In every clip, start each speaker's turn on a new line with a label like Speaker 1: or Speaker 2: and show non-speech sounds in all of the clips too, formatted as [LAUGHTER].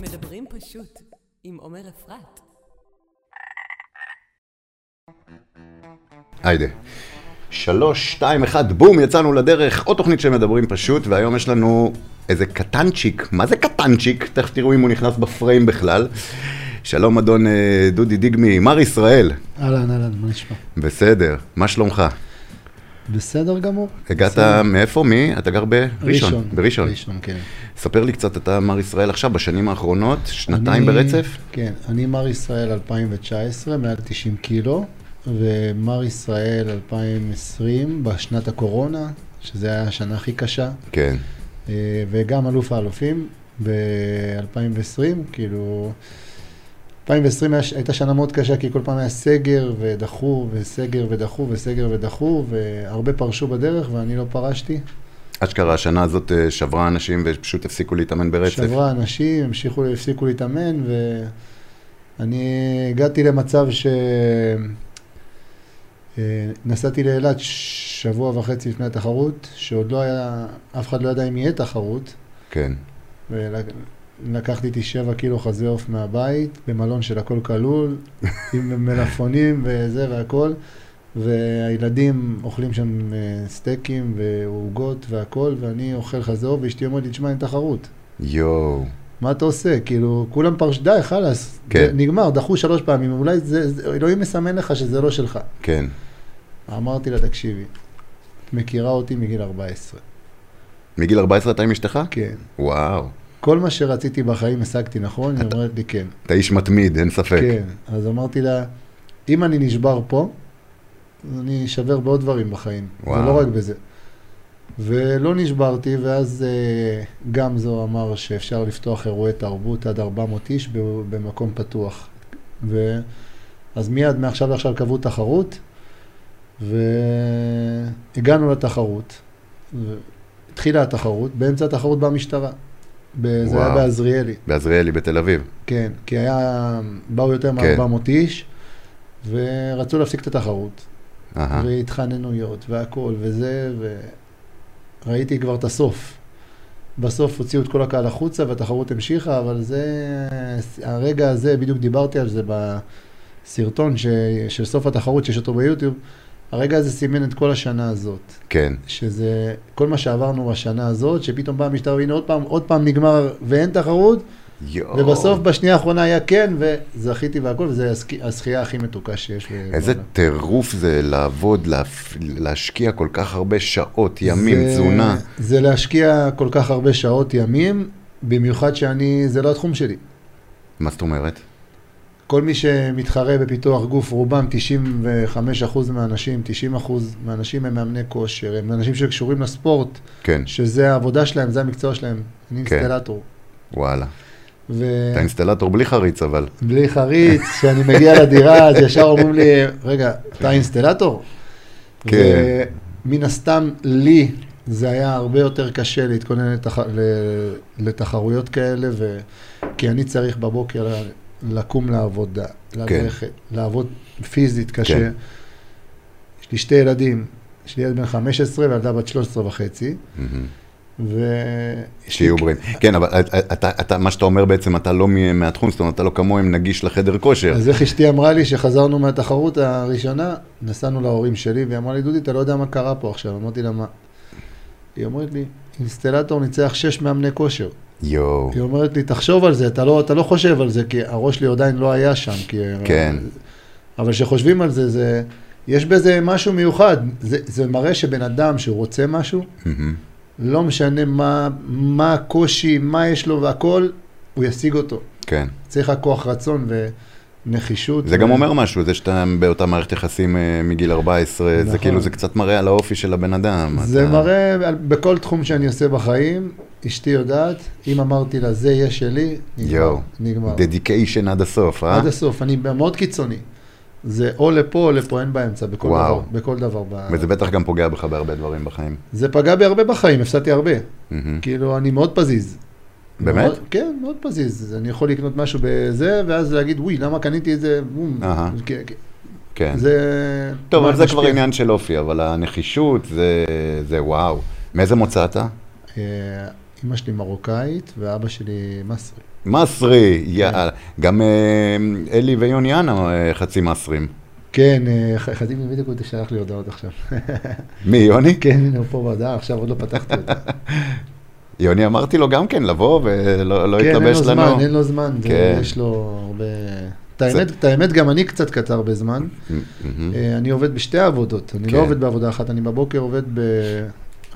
Speaker 1: מדברים פשוט עם עומר אפרת.
Speaker 2: היידה. שלוש, שתיים, אחד, בום, יצאנו לדרך, עוד תוכנית שמדברים פשוט, והיום יש לנו איזה קטנצ'יק, מה זה קטנצ'יק? תכף תראו אם הוא נכנס בפריים בכלל. שלום אדון אה, דודי דיגמי, מר ישראל,
Speaker 3: אהלן, אהלן, מה נשמע?
Speaker 2: בסדר, מה שלומך?
Speaker 3: בסדר גמור.
Speaker 2: הגעת
Speaker 3: בסדר.
Speaker 2: מאיפה? מי? אתה גר בראשון. בראשון.
Speaker 3: ראשון, כן.
Speaker 2: ספר לי קצת, אתה מר ישראל עכשיו, בשנים האחרונות, שנתיים
Speaker 3: אני-
Speaker 2: ברצף?
Speaker 3: כן, אני מר ישראל 2019, מעל 90 קילו, ומר ישראל 2020, בשנת הקורונה, שזה היה השנה הכי קשה,
Speaker 2: כן.
Speaker 3: אה, וגם אלוף האלופים ב-2020, כאילו... 2020 היה- הייתה שנה מאוד קשה, כי כל פעם היה סגר ודחו, וסגר ודחו, וסגר ודחו, והרבה פרשו בדרך ואני לא פרשתי.
Speaker 2: אשכרה השנה הזאת אה, שברה אנשים ופשוט הפסיקו להתאמן ברצף.
Speaker 3: שברה אנשים, המשיכו, הפסיקו להתאמן, ואני הגעתי למצב ש... אה, נסעתי לאילת שבוע וחצי לפני התחרות, שעוד לא היה, אף אחד לא ידע אם יהיה תחרות,
Speaker 2: כן.
Speaker 3: ולקחתי איתי שבע קילו חזה עוף מהבית, במלון של הכל כלול, עם מלפונים וזה והכל, והילדים אוכלים שם אה, סטייקים ועוגות והכל, ואני אוכל חזה עוף, ואשתי אומרת לי, תשמע, אין תחרות.
Speaker 2: יואו.
Speaker 3: מה אתה עושה? כאילו, כולם פרש, די, חלאס.
Speaker 2: כן.
Speaker 3: נגמר, דחו שלוש פעמים, אולי זה, זה- אלוהים מסמן לך שזה לא שלך.
Speaker 2: כן.
Speaker 3: אמרתי לה, תקשיבי, את מכירה אותי מגיל 14.
Speaker 2: מגיל 14 אתה עם אשתך?
Speaker 3: כן.
Speaker 2: וואו.
Speaker 3: כל מה שרציתי בחיים השגתי נכון? היא
Speaker 2: אתה-
Speaker 3: אומרת לי, כן.
Speaker 2: אתה איש מתמיד, אין ספק.
Speaker 3: כן. אז אמרתי לה, אם אני נשבר פה, אז אני אשבר בעוד דברים בחיים.
Speaker 2: וואו.
Speaker 3: ולא רק בזה. ולא נשברתי, ואז אה, גמזו אמר שאפשר לפתוח אירועי תרבות עד 400 איש ב- במקום פתוח. ו... אז מיד, מעכשיו לעכשיו קבעו תחרות, והגענו לתחרות. ו- התחילה התחרות, באמצע התחרות באה המשטרה. ב- זה היה
Speaker 2: וואו.
Speaker 3: בעזריאלי.
Speaker 2: בעזריאלי בתל אביב.
Speaker 3: כן, כי היה, באו יותר
Speaker 2: כן.
Speaker 3: מ-400 איש, ורצו להפסיק את התחרות,
Speaker 2: אהה.
Speaker 3: והתחננויות והכל וזה, וראיתי כבר את הסוף. בסוף הוציאו את כל הקהל החוצה והתחרות המשיכה, אבל זה, הרגע הזה, בדיוק דיברתי על זה בסרטון ש, של סוף התחרות שיש אותו ביוטיוב, הרגע הזה סימן את כל השנה הזאת.
Speaker 2: כן.
Speaker 3: שזה כל מה שעברנו בשנה הזאת, שפתאום באה המשטרה, והנה עוד פעם, עוד פעם נגמר ואין תחרות,
Speaker 2: יואו.
Speaker 3: ובסוף בשנייה האחרונה היה כן, וזכיתי והכל, וזה הזכי- הזכייה הכי מתוקה שיש. ב-
Speaker 2: איזה
Speaker 3: בעולם.
Speaker 2: טירוף זה לעבוד, להפ- להשקיע כל כך הרבה שעות, ימים,
Speaker 3: זה-
Speaker 2: תזונה.
Speaker 3: זה להשקיע כל כך הרבה שעות ימים, במיוחד שאני, זה לא התחום שלי.
Speaker 2: מה זאת אומרת?
Speaker 3: כל מי שמתחרה בפיתוח גוף, רובם 95% מהאנשים, 90% מהאנשים הם מאמני כושר, הם אנשים שקשורים לספורט,
Speaker 2: כן,
Speaker 3: שזה העבודה שלהם, זה המקצוע שלהם. אני
Speaker 2: כן.
Speaker 3: אינסטלטור.
Speaker 2: וואלה.
Speaker 3: כן. ו-
Speaker 2: אתה אינסטלטור בלי חריץ, אבל.
Speaker 3: בלי חריץ, כשאני מגיע לדירה, אז ישר אומרים לי, רגע, אתה אינסטלטור?
Speaker 2: כן.
Speaker 3: ומן הסתם, לי זה היה הרבה יותר קשה להתכונן לתח... ל- לתחרויות כאלה, ו... כי אני צריך בבוקר ל- לקום לעבודה, ללכת, לעבוד פיזית קשה.
Speaker 2: כן.
Speaker 3: יש לי שתי ילדים, יש לי ילד בן 15 וילדה בת 13 וחצי,
Speaker 2: מהמם.
Speaker 3: ו...
Speaker 2: שיהיו בריאים. כן, אבל אתה, אתה, מה שאתה אומר בעצם, אתה לא מ- מהתחום, זאת אומרת, אתה לא כמוהם נגיש לחדר כושר.
Speaker 3: אז איך אשתי אמרה לי שחזרנו מהתחרות הראשונה, נסענו להורים שלי, והיא אמרה לי, דודי, אתה לא יודע מה קרה פה עכשיו. אמרתי לה, מה? היא אומרת לי, אינסטלטור ניצח שש מאמני כושר.
Speaker 2: יואו.
Speaker 3: היא אומרת לי, תחשוב על זה, אתה לא, אתה לא חושב על זה, כי הראש שלי עדיין לא היה שם. כי...
Speaker 2: כן.
Speaker 3: אבל כשחושבים על זה, זה... יש בזה משהו מיוחד. זה, זה מראה שבן אדם שהוא רוצה משהו,
Speaker 2: מהמם.
Speaker 3: לא משנה מה, מה הקושי, מה יש לו והכל, הוא ישיג אותו.
Speaker 2: כן.
Speaker 3: צריך רק כוח רצון ונחישות.
Speaker 2: זה
Speaker 3: ו-
Speaker 2: גם אומר משהו, זה שאתה באותה מערכת יחסים אה, מגיל 14, זה
Speaker 3: נכון.
Speaker 2: כאילו, זה קצת מראה על האופי של הבן אדם.
Speaker 3: זה
Speaker 2: אתה-
Speaker 3: מראה על- בכל תחום שאני עושה בחיים, אשתי יודעת, אם אמרתי לה, זה יהיה שלי, נגמר.
Speaker 2: יואו.
Speaker 3: נגמר.
Speaker 2: דדיקיישן עד הסוף, אה?
Speaker 3: עד הסוף, אני מאוד קיצוני. זה או לפה או לפה, אין באמצע, בכל
Speaker 2: וואו.
Speaker 3: דבר. בכל דבר. ב-
Speaker 2: וזה בטח גם פוגע בך בהרבה דברים בחיים.
Speaker 3: זה פגע בי הרבה בחיים, הפסדתי הרבה.
Speaker 2: מהמם.
Speaker 3: כאילו, אני מאוד פזיז.
Speaker 2: באמת?
Speaker 3: מאוד, כן, מאוד פזיז. אני יכול לקנות משהו בזה, ואז להגיד, וואי, למה קניתי את זה? בום.
Speaker 2: אהה.
Speaker 3: כן, כן.
Speaker 2: כן.
Speaker 3: זה...
Speaker 2: טוב,
Speaker 3: מה,
Speaker 2: אבל זה
Speaker 3: משפיע.
Speaker 2: כבר עניין של אופי, אבל הנחישות זה, זה וואו. מאיזה מוצא אתה?
Speaker 3: אה, אימא שלי מרוקאית ואבא שלי מסרי.
Speaker 2: מסרי,
Speaker 3: כן.
Speaker 2: יאללה. גם אה, אלי ויוני אנה אה, חצי מסרים.
Speaker 3: כן, אה, ח- חזיב בדיוק הוא שלח לי הודעות עכשיו.
Speaker 2: מי, יוני?
Speaker 3: כן, הנה הוא פה בהודעה, עכשיו עוד לא פתחתי
Speaker 2: [LAUGHS]
Speaker 3: אותה.
Speaker 2: יוני אמרתי לו גם כן לבוא ולא לא
Speaker 3: כן, אין
Speaker 2: יתלבש
Speaker 3: לו
Speaker 2: לנו.
Speaker 3: זמן, אין לו זמן, זה-
Speaker 2: כן.
Speaker 3: יש לו הרבה... את האמת, את האמת, גם אני קצת קצר בזמן.
Speaker 2: מהמם.
Speaker 3: אה, אני עובד בשתי עבודות, אני לא
Speaker 2: Mm-hmm. כן.
Speaker 3: עובד בעבודה אחת, אני בבוקר עובד ב...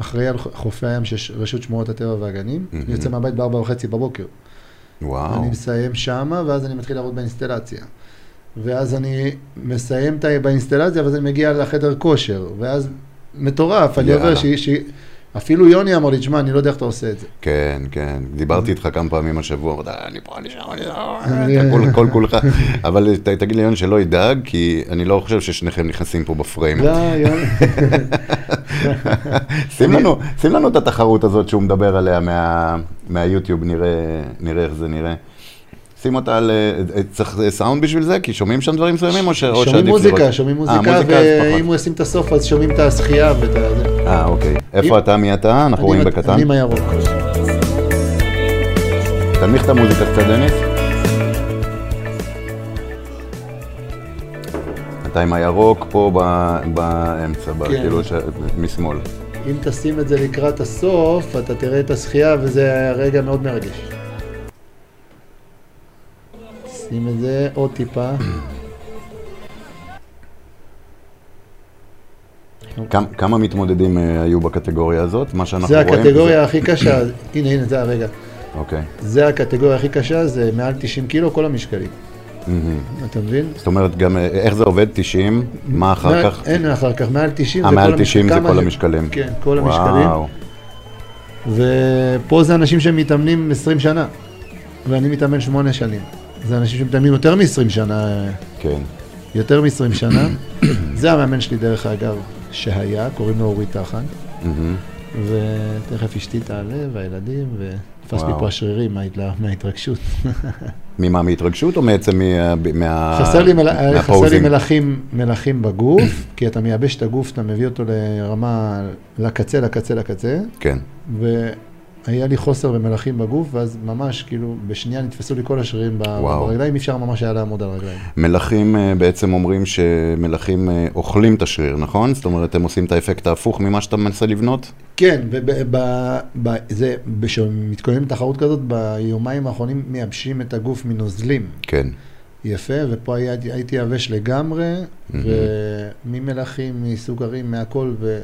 Speaker 3: אחראי על ח- חופי הים של רשות שמורות הטבע והגנים.
Speaker 2: מהמם.
Speaker 3: אני יוצא מהבית בארבע וחצי בבוקר.
Speaker 2: Mm-hmm. וואו.
Speaker 3: אני מסיים שמה, ואז אני מתחיל לעבוד באינסטלציה. ואז אני מסיים את ה- באינסטלציה, ואז אני מגיע לחדר כושר. ואז מטורף, אני
Speaker 2: יאללה.
Speaker 3: עובר ש... ש... אפילו יוני אמר לי, תשמע, אני לא יודע איך אתה עושה את
Speaker 2: [LAUGHS]
Speaker 3: זה.
Speaker 2: כן, כן, דיברתי איתך כמה פעמים השבוע, אמרת, אני פה, אני שם, אני שם, אתה כל- כל כולך, אבל ת- תגיד לי יוני שלא ידאג, כי אני לא חושב ששניכם נכנסים פה בפריים.
Speaker 3: לא, יוני.
Speaker 2: שים לנו- שים לנו את התחרות הזאת שהוא מדבר עליה מה- מהיוטיוב, נראה נראה איך זה נראה. שים אותה על... אה, אה, צריך אה, סאונד בשביל זה? כי שומעים שם דברים מסוימים או ש- או שעדיף
Speaker 3: שומעים
Speaker 2: לראות? אה,
Speaker 3: מוזיקה, שומעים מוזיקה,
Speaker 2: מוזיקה, אז פחות.
Speaker 3: ואם הוא ישים את הסוף, אז שומעים את הזכייה ואת ה... זה.
Speaker 2: אה, אוקיי. איפה אתה, מי אתה? אנחנו רואים
Speaker 3: אני-
Speaker 2: בקטן.
Speaker 3: אני מהירוק.
Speaker 2: תנמיך את המוזיקה קצת, דניס. אתה עם הירוק פה ב- באמצע, ב-
Speaker 3: כן.
Speaker 2: כאילו ש- משמאל.
Speaker 3: אם תשים את זה לקראת הסוף, אתה תראה את הזכייה, וזה היה רגע מאוד מרגש. שים את זה עוד טיפה.
Speaker 2: כמה- כמה מתמודדים אה, היו בקטגוריה הזאת? מה שאנחנו
Speaker 3: זה
Speaker 2: רואים?
Speaker 3: הקטגוריה הכי קשה, הנה, הנה, זה הרגע.
Speaker 2: אוקיי.
Speaker 3: זה הקטגוריה הכי קשה, זה מעל 90 קילו כל המשקלים.
Speaker 2: מהמם.
Speaker 3: אתה מבין?
Speaker 2: זאת אומרת, גם אה, איך זה עובד? 90? מה אחר
Speaker 3: מעל-
Speaker 2: כך?
Speaker 3: אין אחר כך, מעל 90
Speaker 2: אה,
Speaker 3: זה כל
Speaker 2: מעל
Speaker 3: המשקל-
Speaker 2: 90 זה
Speaker 3: כמה
Speaker 2: כל המשקלים.
Speaker 3: כן, כל המשקלים.
Speaker 2: וואו.
Speaker 3: ופה זה אנשים שמתאמנים 20 שנה, ואני מתאמן 8 שנים. זה אנשים שמתאמנים יותר מ-20 שנה,
Speaker 2: כן.
Speaker 3: יותר מ-20
Speaker 2: [COUGHS]
Speaker 3: שנה. זה המאמן שלי דרך אגב, שהיה, קוראים לו אורי טחן,
Speaker 2: מהמם.
Speaker 3: ותכף אשתי תעלה והילדים, ותפס לי
Speaker 2: וואו.
Speaker 3: פה השרירים מההתלה- מההתרגשות.
Speaker 2: ממה, מהתרגשות או מעצם מה... אה, מה-
Speaker 3: חסר לי, מל... אה, חסר לי
Speaker 2: מהפוזינג?
Speaker 3: מלחים, מלחים בגוף, כי אתה מייבש את הגוף, אתה מביא אותו לרמה, לקצה, לקצה, לקצה.
Speaker 2: כן.
Speaker 3: והיה לי חוסר במלחים בגוף, ואז ממש, כאילו, בשנייה נתפסו לי כל השרירים ב-
Speaker 2: וואו.
Speaker 3: ברגליים, אי אפשר ממש היה לעמוד על הרגליים.
Speaker 2: מלכים אה, בעצם אומרים שמלכים אה, אוכלים את השריר, נכון? זאת אומרת, הם עושים את האפקט ההפוך ממה שאתה מנסה לבנות?
Speaker 3: כן, וכשמתכוננים לתחרות כזאת, ביומיים האחרונים מייבשים את הגוף מנוזלים.
Speaker 2: כן.
Speaker 3: יפה, ופה היה, הייתי יבש לגמרי, וממלחים, מסוגרים, מהכל, ו...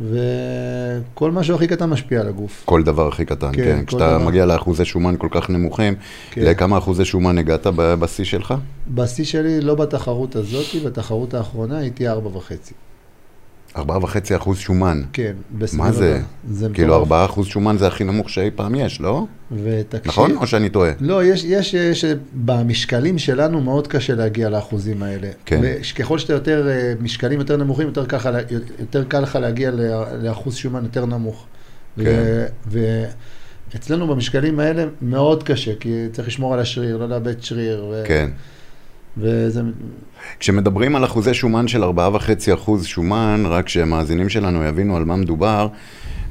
Speaker 3: וכל משהו הכי קטן משפיע על הגוף.
Speaker 2: כל דבר הכי קטן,
Speaker 3: כן,
Speaker 2: כן.
Speaker 3: כל
Speaker 2: כשאתה
Speaker 3: דבר.
Speaker 2: מגיע לאחוזי שומן כל כך נמוכים,
Speaker 3: כן.
Speaker 2: לכמה אחוזי שומן הגעת ב- בשיא שלך?
Speaker 3: בשיא שלי, לא בתחרות הזאת, בתחרות האחרונה הייתי ארבע וחצי.
Speaker 2: ארבעה וחצי אחוז שומן.
Speaker 3: כן, בסדר.
Speaker 2: מה זה?
Speaker 3: זה
Speaker 2: כאילו
Speaker 3: מטורף.
Speaker 2: ארבעה אחוז שומן זה הכי נמוך שאי פעם יש, לא?
Speaker 3: ותקשיב,
Speaker 2: נכון? או שאני טועה?
Speaker 3: לא, יש, יש, יש, במשקלים שלנו מאוד קשה להגיע לאחוזים האלה.
Speaker 2: כן.
Speaker 3: וככל שאתה יותר, אה, משקלים יותר נמוכים, יותר קל, לך לה- יותר קל לך להגיע ל- לאחוז שומן יותר נמוך.
Speaker 2: כן.
Speaker 3: ו, ואצלנו במשקלים האלה מאוד קשה, כי צריך לשמור על השריר, לא לאבד שריר. ו,
Speaker 2: כן.
Speaker 3: וזה,
Speaker 2: כשמדברים על אחוזי שומן של 4.5 אחוז שומן, רק שהמאזינים שלנו יבינו על מה מדובר,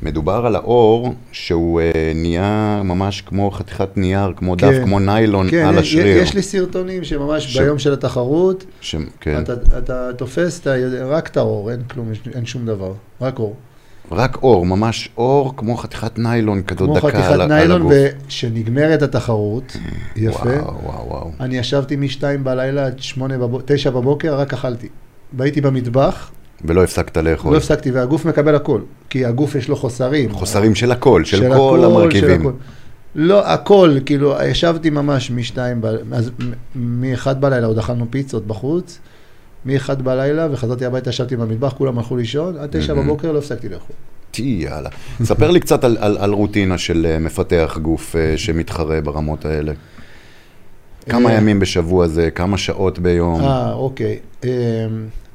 Speaker 2: מדובר על האור שהוא אה, נהיה ממש כמו חתיכת נייר, כמו
Speaker 3: כן.
Speaker 2: דף, כמו ניילון
Speaker 3: כן,
Speaker 2: על
Speaker 3: י-
Speaker 2: השריר.
Speaker 3: יש לי סרטונים שממש
Speaker 2: ש-
Speaker 3: ביום של התחרות,
Speaker 2: ש... כן.
Speaker 3: אתה, אתה תופס אתה, יודע- רק את האור, אין כלום, אין שום דבר, רק אור.
Speaker 2: רק אור, ממש אור כמו חתיכת ניילון כזאת
Speaker 3: כמו
Speaker 2: דקה
Speaker 3: חתיכת
Speaker 2: על, ה- על
Speaker 3: ניילון,
Speaker 2: הגוף. Mm,
Speaker 3: וכשנגמרת התחרות, יפה.
Speaker 2: וואו, וואו, וואו.
Speaker 3: אני ישבתי מ-2 בלילה עד 9 בבוקר, רק אכלתי. והייתי במטבח,
Speaker 2: ולא הפסקת לאכול.
Speaker 3: לא הפסקתי, והגוף מקבל הכל, כי הגוף יש לו חוסרים.
Speaker 2: חוסרים של הכל, של, כל
Speaker 3: הכל,
Speaker 2: המרכיבים.
Speaker 3: של הכל. לא, הכל, כאילו, ישבתי ממש מ-2 בלילה, אז מ-1 בלילה עוד אכלנו פיצות בחוץ, מ-1 בלילה, וחזרתי הביתה, ישבתי במטבח, כולם הלכו לישון, עד 9
Speaker 2: מהמם.
Speaker 3: בבוקר לא הפסקתי לאכול.
Speaker 2: טי, יאללה. ספר לי קצת על, על, על רוטינה של אה, מפתח גוף אה, שמתחרה ברמות האלה. כמה
Speaker 3: אה,
Speaker 2: ימים בשבוע זה, כמה שעות ביום.
Speaker 3: אה, אוקיי. אמ,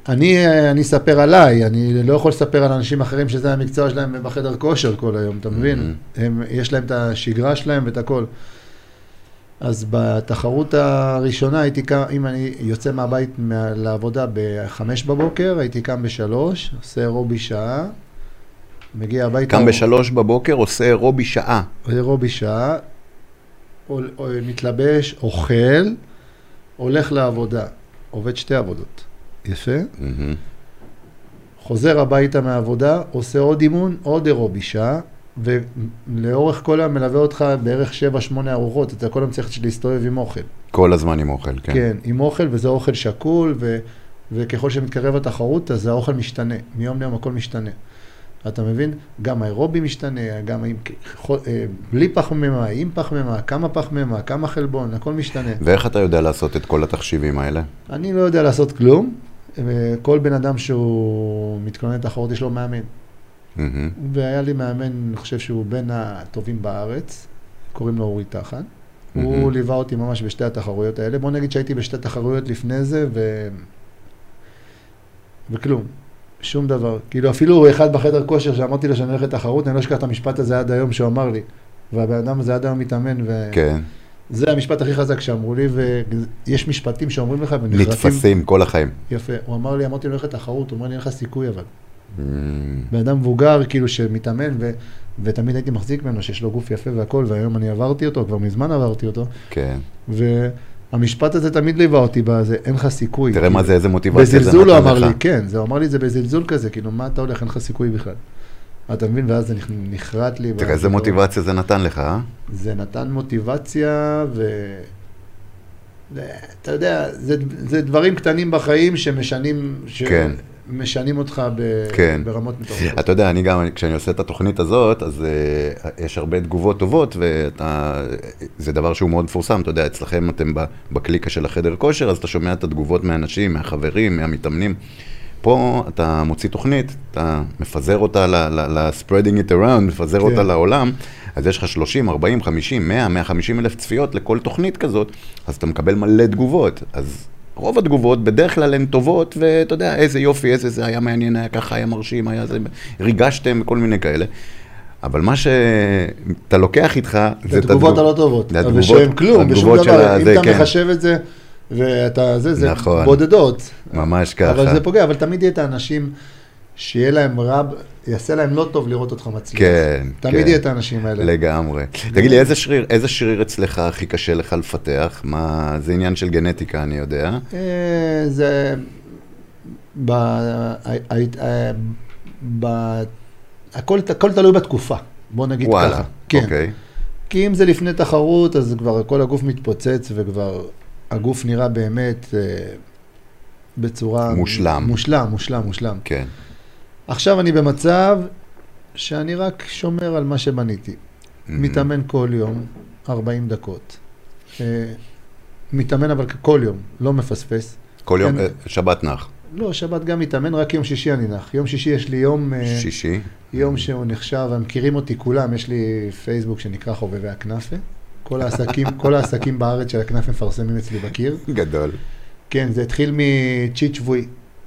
Speaker 3: אני, אה, אני אספר עליי, אני לא יכול לספר על אנשים אחרים שזה המקצוע שלהם בחדר כושר כל היום, אתה מבין?
Speaker 2: Mm-hmm.
Speaker 3: הם, יש להם את השגרה שלהם ואת הכל. אז בתחרות הראשונה הייתי קם, אם אני יוצא מהבית מה, לעבודה ב-5 בבוקר, הייתי קם ב-3, עושה אירובי שעה, מגיע הביתה,
Speaker 2: קם בשלוש בבוקר, עושה אירובי שעה.
Speaker 3: עולה רובי שעה, עול- עול- מתלבש, אוכל, הולך לעבודה. עובד שתי עבודות. יפה.
Speaker 2: מהמם.
Speaker 3: חוזר הביתה מהעבודה, עושה עוד אימון, עוד אירובי שעה, ולאורך כל היום מלווה אותך בערך 7-8 ארוחות, אתה כל היום צריך להסתובב עם אוכל.
Speaker 2: כל הזמן עם אוכל, כן.
Speaker 3: כן. כן, עם אוכל, וזה אוכל שקול, ו, וככל שמתקרב התחרות, אז האוכל משתנה. מיום ליום הכל משתנה. אתה מבין? גם האירובי משתנה, גם עם, חו- אה, בלי פחמימה, עם פחמימה, כמה פחמימה, כמה חלבון, הכל משתנה.
Speaker 2: ואיך אתה יודע לעשות את כל התחשיבים האלה?
Speaker 3: אני לא יודע לעשות כלום. אה, כל בן אדם שהוא מתכונן לתחרות, יש לו מאמן.
Speaker 2: מהמם.
Speaker 3: והיה לי מאמן, אני חושב שהוא בין הטובים בארץ, קוראים לו אורי טחן.
Speaker 2: מהמם.
Speaker 3: הוא ליווה אותי ממש בשתי התחרויות האלה. בוא נגיד שהייתי בשתי תחרויות לפני זה, ו... וכלום. שום דבר. כאילו, אפילו אחד בחדר כושר שאמרתי לו שאני הולך לתחרות, אני לא אשכח את המשפט הזה עד היום שהוא אמר לי. והבן אדם הזה עד היום מתאמן, וזה
Speaker 2: כן,
Speaker 3: המשפט הכי חזק שאמרו לי, ויש משפטים שאומרים לך ונחרטים.
Speaker 2: נתפסים כל החיים.
Speaker 3: יפה. הוא אמר לי, אמרתי לו, הולך לתחרות, הוא אומר לי, אין לך סיכוי אבל.
Speaker 2: מהמם.
Speaker 3: בן אדם מבוגר, כאילו, שמתאמן, ו... ותמיד הייתי מחזיק ממנו, שיש לו גוף יפה והכל, והיום אני עברתי אותו, כבר מזמן עברתי אותו,
Speaker 2: כן.
Speaker 3: והמשפט הזה תמיד ליווה אותי בזה, אין לך סיכוי. כאילו,
Speaker 2: תראה מה זה, איזה מוטיבציה זה
Speaker 3: בזלזול הוא
Speaker 2: נתן
Speaker 3: אמר
Speaker 2: לך.
Speaker 3: לי, כן, זה הוא אמר לי את זה בזלזול כזה, כאילו, מה אתה הולך, אין לך סיכוי בכלל. אתה מבין? ואז זה נכ- נחרט לי. ואז
Speaker 2: תראה איזה
Speaker 3: פתאום-
Speaker 2: מוטיבציה זה נתן לך, אה?
Speaker 3: זה נתן מוטיבציה, ו... זה- אתה יודע, זה, זה דברים קטנים בחיים שמשנים, ש...
Speaker 2: כן.
Speaker 3: משנים אותך ב...
Speaker 2: כן.
Speaker 3: ברמות מטורפות.
Speaker 2: אתה יודע, אני גם, אני- כשאני עושה את התוכנית הזאת, אז uh, יש הרבה תגובות טובות, וזה דבר שהוא מאוד מפורסם, אתה יודע, אצלכם אתם ב- בקליקה של החדר כושר, אז אתה שומע את התגובות מהאנשים, מהחברים, מהמתאמנים. פה אתה מוציא תוכנית, אתה מפזר אותה ל-spreading it around, מפזר
Speaker 3: כן.
Speaker 2: אותה לעולם, אז יש לך 30, 40, 50, 100, 150 אלף צפיות לכל תוכנית כזאת, אז אתה מקבל מלא תגובות. אז רוב התגובות בדרך כלל הן טובות, ואתה יודע, איזה יופי, איזה זה היה מעניין, היה ככה, היה מרשים, היה זה, ריגשתם וכל מיני כאלה. אבל מה שאתה לוקח איתך,
Speaker 3: זה
Speaker 2: את
Speaker 3: התגובות
Speaker 2: התגוב-
Speaker 3: לא, הלא טובות,
Speaker 2: זה התגובות-
Speaker 3: ושהן כלום, ושום
Speaker 2: התגובות של
Speaker 3: דבר, אם
Speaker 2: הזה,
Speaker 3: אתה
Speaker 2: כן.
Speaker 3: מחשב את זה, ואתה זה, זה
Speaker 2: נכון.
Speaker 3: בודדות.
Speaker 2: ממש ככה.
Speaker 3: אבל זה פוגע, אבל תמיד יהיה את האנשים שיהיה להם רב, יעשה להם לא טוב לראות אותך מצליח.
Speaker 2: כן,
Speaker 3: תמיד
Speaker 2: כן.
Speaker 3: יהיה את האנשים האלה.
Speaker 2: לגמרי. תגיד לי, איזה שריר, איזה שריר אצלך הכי קשה לך לפתח? מה, זה עניין של גנטיקה, אני יודע.
Speaker 3: אה, זה... ב... ה- ה- ה- ב... הכל הכל תלוי בתקופה, בוא נגיד ככה.
Speaker 2: וואלה,
Speaker 3: כן.
Speaker 2: אוקיי.
Speaker 3: כי אם זה לפני תחרות, אז כבר כל הגוף מתפוצץ, וכבר הגוף נראה באמת אה, בצורה...
Speaker 2: מושלם.
Speaker 3: מושלם, מושלם, מושלם.
Speaker 2: כן.
Speaker 3: עכשיו אני במצב שאני רק שומר על מה שבניתי. מתאמן כל יום, 40 דקות. אה, מתאמן אבל כל יום, לא מפספס.
Speaker 2: כל יום,
Speaker 3: כן.
Speaker 2: אה, שבת נח,
Speaker 3: לא, שבת גם מתאמן, רק יום שישי אני נח. יום שישי יש לי יום... אה,
Speaker 2: שישי.
Speaker 3: יום שהוא נחשב, הם מכירים אותי כולם, יש לי פייסבוק שנקרא חובבי הכנאפה. כל העסקים, כל העסקים בארץ של הכנאפה מפרסמים אצלי בקיר.
Speaker 2: גדול.
Speaker 3: כן, זה התחיל מצ'יט שבועי,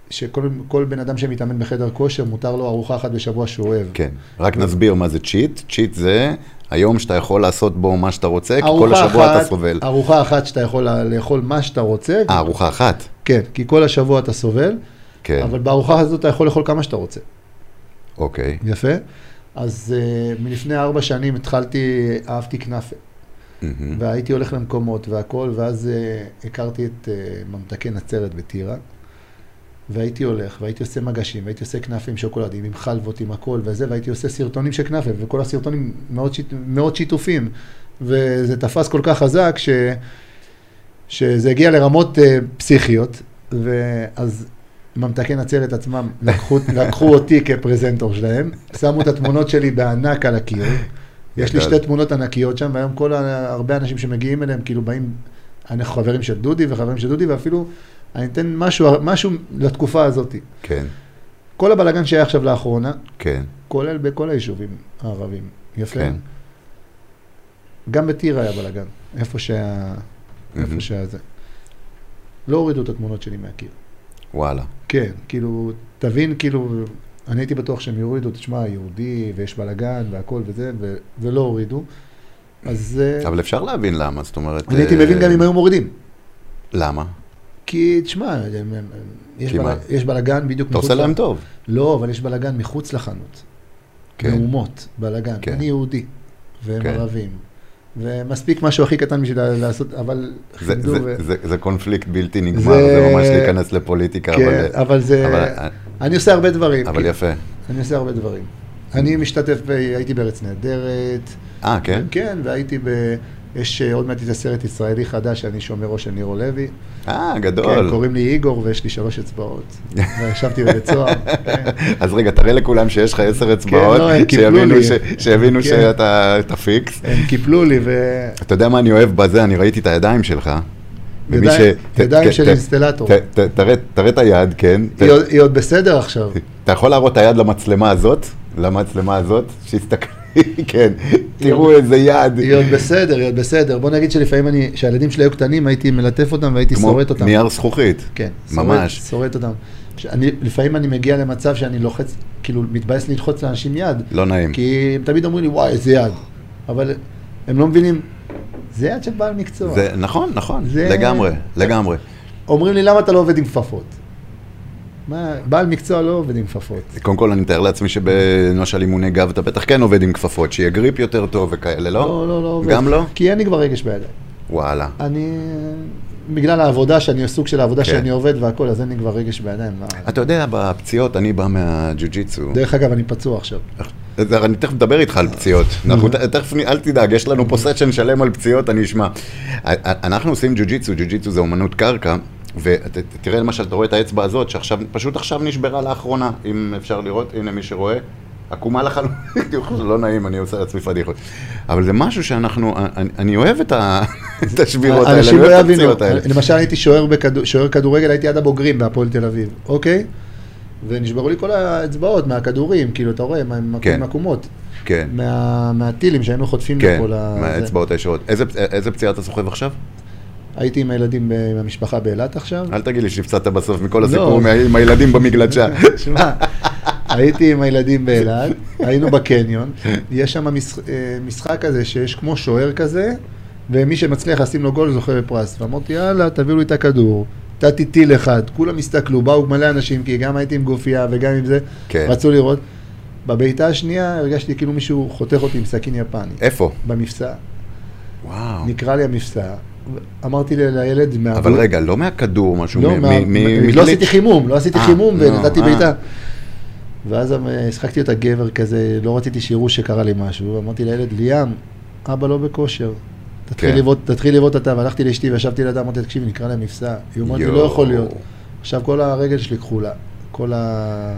Speaker 3: שכל כל בן אדם שמתאמן בחדר כושר, מותר לו ארוחה אחת בשבוע שהוא אוהב.
Speaker 2: כן. רק נסביר מה זה צ'יט. צ'יט זה היום שאתה יכול לעשות בו מה שאתה רוצה, כי כל
Speaker 3: ארוחה
Speaker 2: השבוע
Speaker 3: אחת-
Speaker 2: אתה סובל.
Speaker 3: ארוחה אחת שאתה יכול לה- לאכול מה שאתה רוצה.
Speaker 2: אה, ארוחה אחת?
Speaker 3: כן, כי כל השבוע אתה סובל,
Speaker 2: כן,
Speaker 3: אבל בארוחה הזאת אתה יכול לאכול כמה שאתה רוצה.
Speaker 2: אוקיי.
Speaker 3: יפה? אז uh, מלפני ארבע שנים התחלתי, אהבתי כנאפה.
Speaker 2: מהמם.
Speaker 3: והייתי הולך למקומות והכל, ואז uh, הכרתי את uh, ממתקי נצרת בטירה, והייתי הולך, והייתי עושה מגשים, והייתי עושה כנאפה עם שוקולדים, עם חלבות, עם הכל וזה, והייתי עושה סרטונים של כנאפה, וכל הסרטונים מאוד, שיט, מאוד שיתופים, וזה תפס כל כך חזק, ש, שזה הגיע לרמות uh, פסיכיות, ואז... ממתקי נצרת עצמם לקחו, [LAUGHS] לקחו אותי כפרזנטור שלהם, שמו את התמונות שלי בענק על הקיר, יש לי
Speaker 2: גדול.
Speaker 3: שתי תמונות ענקיות שם, והיום כל ה... הרבה אנשים שמגיעים אליהם, כאילו באים, אנחנו חברים של דודי וחברים של דודי, ואפילו אני אתן משהו, משהו לתקופה הזאת.
Speaker 2: כן,
Speaker 3: כל הבלגן שהיה עכשיו לאחרונה,
Speaker 2: כן,
Speaker 3: כולל בכל היישובים הערבים. יפה.
Speaker 2: כן.
Speaker 3: גם בטירה היה בלגן, איפה שה...
Speaker 2: מהמם.
Speaker 3: איפה שהיה זה. לא הורידו את התמונות שלי מהקיר.
Speaker 2: וואלה.
Speaker 3: כן, כאילו, תבין, כאילו, אני הייתי בטוח שהם יורידו, תשמע, יהודי, ויש בלגן, והכל וזה, ו... ולא הורידו. אז... אה,
Speaker 2: אבל אפשר להבין למה, זאת אומרת...
Speaker 3: אני הייתי
Speaker 2: אה,
Speaker 3: מבין גם אם היו מורידים.
Speaker 2: למה?
Speaker 3: כי, תשמע, הם- הם- הם- יש
Speaker 2: כי
Speaker 3: בל-
Speaker 2: מה?
Speaker 3: יש בלאגן בדיוק
Speaker 2: אתה עושה
Speaker 3: ל-
Speaker 2: להם טוב.
Speaker 3: לא, אבל יש בלאגן מחוץ לחנות.
Speaker 2: כן.
Speaker 3: מהומות, בלאגן.
Speaker 2: כן.
Speaker 3: אני יהודי, והם
Speaker 2: כן.
Speaker 3: ערבים. ומספיק משהו הכי קטן בשביל לעשות, אבל
Speaker 2: זה,
Speaker 3: כיבדו
Speaker 2: זה,
Speaker 3: ו...
Speaker 2: זה, זה קונפליקט בלתי נגמר, זה,
Speaker 3: זה-
Speaker 2: ממש להיכנס לפוליטיקה,
Speaker 3: כן,
Speaker 2: אבל,
Speaker 3: אבל זה...
Speaker 2: אבל,
Speaker 3: אני עושה הרבה דברים.
Speaker 2: אבל
Speaker 3: כן.
Speaker 2: יפה.
Speaker 3: אני עושה הרבה דברים. אני משתתף, ב... הייתי בארץ נהדרת.
Speaker 2: אה, כן?
Speaker 3: כן, והייתי ב... יש אה, עוד מעט את הסרט ישראלי חדש שאני שומרו של ניר לוי.
Speaker 2: אה,
Speaker 3: כן,
Speaker 2: גדול.
Speaker 3: קוראים לי איגור ויש לי
Speaker 2: [LAUGHS]
Speaker 3: שלוש אצבעות. וישבתי בבית סוהר. כן.
Speaker 2: אז רגע, תראה לכולם שיש לך עשר אצבעות,
Speaker 3: לא, הם קיפלו
Speaker 2: שיבינו
Speaker 3: לי.
Speaker 2: ש- שיבינו
Speaker 3: כן.
Speaker 2: שאתה אתה פיקס.
Speaker 3: הם קיפלו לי ו...
Speaker 2: אתה יודע מה אני אוהב בזה? אני ראיתי את הידיים שלך. ומי
Speaker 3: ידיים-
Speaker 2: ת-
Speaker 3: ידיים
Speaker 2: ת-
Speaker 3: של
Speaker 2: ת-
Speaker 3: אינסטלטור.
Speaker 2: ת- ת- תראה- תראה את היד, כן. ת-
Speaker 3: היא עוד- היא עוד
Speaker 2: [LAUGHS]
Speaker 3: בסדר עכשיו.
Speaker 2: אתה יכול להראות את היד למצלמה הזאת? למצלמה הזאת? שיסתכלי, [LAUGHS] כן. תראו איזה יד.
Speaker 3: היא עוד בסדר, היא עוד בסדר. בוא נגיד שלפעמים אני, כשהילדים שלי היו קטנים, הייתי מלטף אותם והייתי
Speaker 2: כמו
Speaker 3: שורט אותם.
Speaker 2: נייר זכוכית.
Speaker 3: כן,
Speaker 2: ממש.
Speaker 3: שורט, שורט אותם. שאני, לפעמים אני מגיע למצב שאני לוחץ, כאילו מתבאס ללחוץ לאנשים יד,
Speaker 2: לא נעים.
Speaker 3: כי הם תמיד אומרים לי, וואי, איזה יד. אבל הם לא מבינים, זה יד של בעל מקצוע.
Speaker 2: זה נכון, נכון,
Speaker 3: זה-
Speaker 2: לגמרי, לגמרי.
Speaker 3: אומרים לי, למה אתה לא עובד עם כפפות? מה, בעל מקצוע לא עובד עם כפפות.
Speaker 2: קודם כל, אני מתאר לעצמי שבלמשל אימוני גב אתה בטח כן עובד עם כפפות, שיהיה גריפ יותר טוב וכאלה, לא?
Speaker 3: לא, לא, לא עובד.
Speaker 2: גם לא?
Speaker 3: כי אין לי כבר רגש בידיים.
Speaker 2: וואלה.
Speaker 3: אני, בגלל העבודה שאני, סוג של העבודה
Speaker 2: כן.
Speaker 3: שאני עובד והכל, אז אין לי כבר רגש בידיים. מה-
Speaker 2: אתה יודע, בפציעות, אני בא מהג'ו-ג'יצו.
Speaker 3: דרך אגב, אני פצוע עכשיו.
Speaker 2: אז אני תכף מדבר איתך על פציעות.
Speaker 3: Mm-hmm.
Speaker 2: אנחנו ת- תכף, נ- אל תדאג, יש לנו פה סשן שלם על פציעות, אני אשמע. א- א- אנחנו עושים ג'ו-ג'יצו, ג'ו-ג'יצו זה אומנות קרקע, ותראה למשל, אתה רואה את האצבע הזאת, שעכשיו, פשוט עכשיו נשברה לאחרונה, אם אפשר לראות, הנה מי שרואה. עקומה לחלוטין, [LAUGHS] לא נעים, אני עושה לעצמי פדיחות. אבל זה משהו שאנחנו, אני- אני אוהב את ה- [LAUGHS] את השבירות האלה, אני
Speaker 3: אנשים לא
Speaker 2: אוהב את
Speaker 3: יבינו,
Speaker 2: הפציעות האלה.
Speaker 3: למשל הייתי שוער בכדו- שוער כדורגל, הייתי עד הבוגרים בהפועל תל אביב, אוקיי? ונשברו לי כל האצבעות מהכדורים, כאילו, אתה רואה, מה- מה-
Speaker 2: כן.
Speaker 3: מהקומות,
Speaker 2: כן,
Speaker 3: מה- מהטילים שהיינו חוטפים
Speaker 2: כן,
Speaker 3: לכל ה... זה.
Speaker 2: מהאצבעות הישרות. איזה- איזה פציעה אתה סוחב עכשיו?
Speaker 3: הייתי עם הילדים, ב- עם המשפחה באילת עכשיו.
Speaker 2: אל תגיד לי שנפצעת בסוף מכל
Speaker 3: לא.
Speaker 2: הסיפור מה- עם הילדים במגלשה.
Speaker 3: שמע, הייתי עם הילדים באילת, היינו בקניון, יש שם משח- אה, משחק כזה שיש כמו שוער כזה, ומי שמצליח לשים לו גול זוכה בפרס. ואמרתי, יאללה, תביאו לי את הכדור, נתתי טיל אחד, כולם הסתכלו, באו מלא אנשים, כי גם הייתי עם גופייה וגם עם זה,
Speaker 2: כן.
Speaker 3: רצו לראות. בבעיטה השנייה הרגשתי כאילו מישהו חותך אותי עם סכין יפני,
Speaker 2: איפה?
Speaker 3: במפסע,
Speaker 2: אה. וואו.
Speaker 3: נקרא לי המפסע. אמרתי ל- לילד מה...
Speaker 2: אבל רגע, לא מהכדור, משהו
Speaker 3: לא,
Speaker 2: מ-
Speaker 3: מה-
Speaker 2: מ- מ-
Speaker 3: לא
Speaker 2: מגלית?
Speaker 3: עשיתי חימום, לא עשיתי
Speaker 2: אה,
Speaker 3: חימום
Speaker 2: לא,
Speaker 3: ונתתי
Speaker 2: אה.
Speaker 3: בעיטה. ואז אמ- השחקתי אותה גבר כזה, לא רציתי שיראו שקרה לי משהו, אמרתי לילד, ליאם, אבא לא בכושר. תתחיל
Speaker 2: כן.
Speaker 3: לבעוט- תתחיל לבעוט אתה, והלכתי לאשתי וישבתי לידה, אמרתי, תקשיבי, נקרא להם מפסע. היא אומרת לי,
Speaker 2: יואו.
Speaker 3: לא יכול להיות. עכשיו כל הרגל שלי כחולה. כל ה...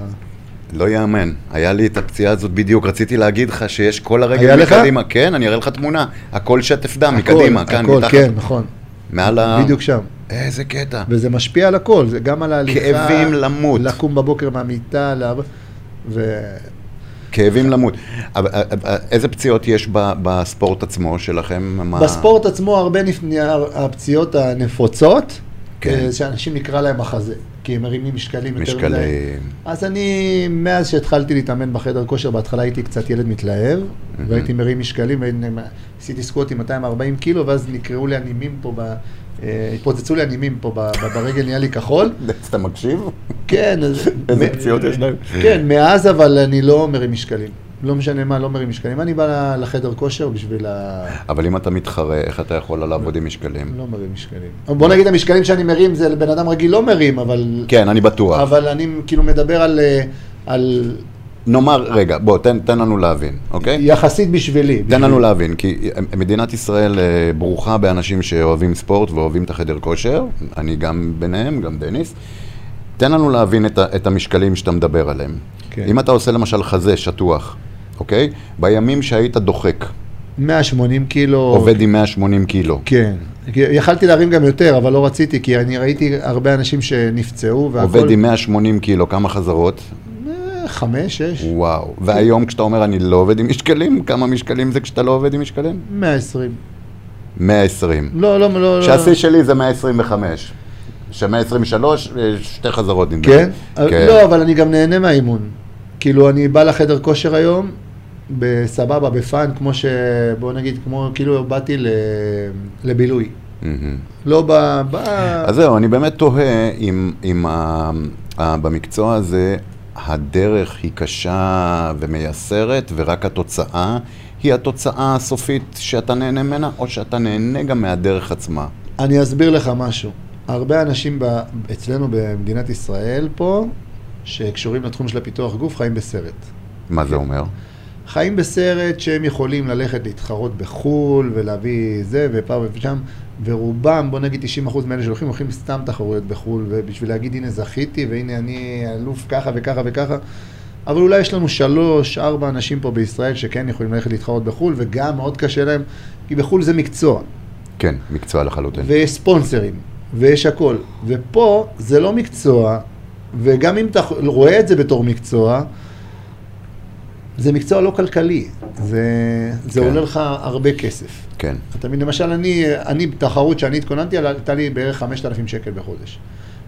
Speaker 2: לא יאמן, היה לי את הפציעה הזאת בדיוק, רציתי להגיד לך שיש כל הרגל
Speaker 3: היה לך?
Speaker 2: מקדימה. כן, אני אראה לך תמונה, הכל שטף דם מקדימה,
Speaker 3: הכל,
Speaker 2: כאן
Speaker 3: הכל,
Speaker 2: מתחת. אה.
Speaker 3: כן, נכון.
Speaker 2: מעל ה...
Speaker 3: בדיוק שם.
Speaker 2: איזה קטע.
Speaker 3: וזה משפיע על הכל, זה גם על ההליכה.
Speaker 2: כאבים למות.
Speaker 3: לקום בבוקר מהמיטה, לעב... ו...
Speaker 2: כאבים למות. אבל, אה, אה, איזה פציעות יש ב- בספורט עצמו שלכם? מה-
Speaker 3: בספורט עצמו הרבה נפ... הפציעות הנפוצות,
Speaker 2: כן.
Speaker 3: אה, שאנשים נקרא להם החזה, כי הם מרימים משקלים יותר מדי.
Speaker 2: משקלים.
Speaker 3: [LAUGHS] אז אני, מאז שהתחלתי להתאמן בחדר כושר, בהתחלה הייתי קצת ילד מתלהב, והייתי מרים משקלים, ועשיתי סקווט עם 240 קילו, ואז נקראו לי הנימים פה, ב... אה, התפוצצו לי הנימים פה ב... ב- ברגל, נהיה לי כחול.
Speaker 2: אז אתה מקשיב?
Speaker 3: כן, אז...
Speaker 2: [LAUGHS] איזה
Speaker 3: מ-
Speaker 2: פציעות יש להם?
Speaker 3: כן, מאז אבל אני לא מרים משקלים. לא משנה מה, לא מרים משקלים. אני בא לחדר כושר בשביל ה...
Speaker 2: אבל אם אתה מתחרה, איך אתה יכול לעבוד עם משקלים?
Speaker 3: לא מרים משקלים. בוא נגיד המשקלים שאני מרים זה בן אדם רגיל לא מרים, אבל...
Speaker 2: כן, אני בטוח.
Speaker 3: אבל אני כאילו מדבר על... אה, על
Speaker 2: נאמר, רגע, בוא, תן, תן לנו להבין, אוקיי?
Speaker 3: יחסית בשבילי.
Speaker 2: תן לנו
Speaker 3: בשביל-
Speaker 2: להבין, כי מדינת ישראל אה, ברוכה באנשים שאוהבים ספורט ואוהבים את החדר כושר, אני גם ביניהם, גם דניס. תן לנו להבין את, ה- את המשקלים שאתה מדבר עליהם.
Speaker 3: כן.
Speaker 2: אם אתה עושה למשל חזה שטוח, אוקיי? בימים שהיית דוחק,
Speaker 3: 180 קילו.
Speaker 2: עובד עם 180 קילו.
Speaker 3: כן. כי יכלתי להרים גם יותר, אבל לא רציתי, כי אני ראיתי הרבה אנשים שנפצעו והכל...
Speaker 2: עובד עם 180 קילו, כמה חזרות?
Speaker 3: אה, חמש, שש,
Speaker 2: וואו. והיום כשאתה אומר אני לא עובד עם משקלים, כמה משקלים זה כשאתה לא עובד עם משקלים?
Speaker 3: 120.
Speaker 2: 120.
Speaker 3: לא, לא, לא, לא.
Speaker 2: שהשיא שלי זה 125. ש-123, אה, שתי חזרות נדמה לי.
Speaker 3: כן? לא, אבל אני גם נהנה מהאימון. כאילו, אני בא לחדר כושר היום, בסבבה, בפאן, כמו ש... בוא נגיד, כמו כאילו באתי ל... לבילוי.
Speaker 2: מהמם.
Speaker 3: לא ב... ב...
Speaker 2: אז זהו, אני באמת תוהה אם, אם ה, ה, אה, במקצוע הזה הדרך היא קשה ומייסרת, ורק התוצאה היא התוצאה הסופית שאתה נהנה ממנה, או שאתה נהנה גם מהדרך עצמה.
Speaker 3: אני אסביר לך משהו. הרבה אנשים ב... אצלנו במדינת ישראל פה, שקשורים לתחום של הפיתוח גוף, חיים בסרט.
Speaker 2: מה
Speaker 3: כן.
Speaker 2: זה אומר?
Speaker 3: חיים בסרט שהם יכולים ללכת להתחרות בחו"ל ולהביא זה ופה ושם, ורובם, בוא נגיד 90% מאלה שהולכים, הולכים סתם תחרויות בחו"ל, ובשביל להגיד הנה זכיתי והנה אני אלוף ככה וככה וככה. אבל אולי יש לנו שלוש, ארבע אנשים פה בישראל שכן יכולים ללכת להתחרות בחו"ל, וגם מאוד קשה להם, כי בחו"ל זה מקצוע,
Speaker 2: כן, מקצוע לחלוטין.
Speaker 3: ויש ספונסרים, ויש הכל. ופה זה לא מקצוע, וגם אם אתה רואה את זה בתור מקצוע, זה מקצוע לא כלכלי. זה, זה
Speaker 2: כן.
Speaker 3: עולה לך הרבה כסף.
Speaker 2: כן.
Speaker 3: אתה מבין, למשל, אני, אני, תחרות שאני התכוננתי, עליה, עלתה לי בערך 5,000 שקל בחודש.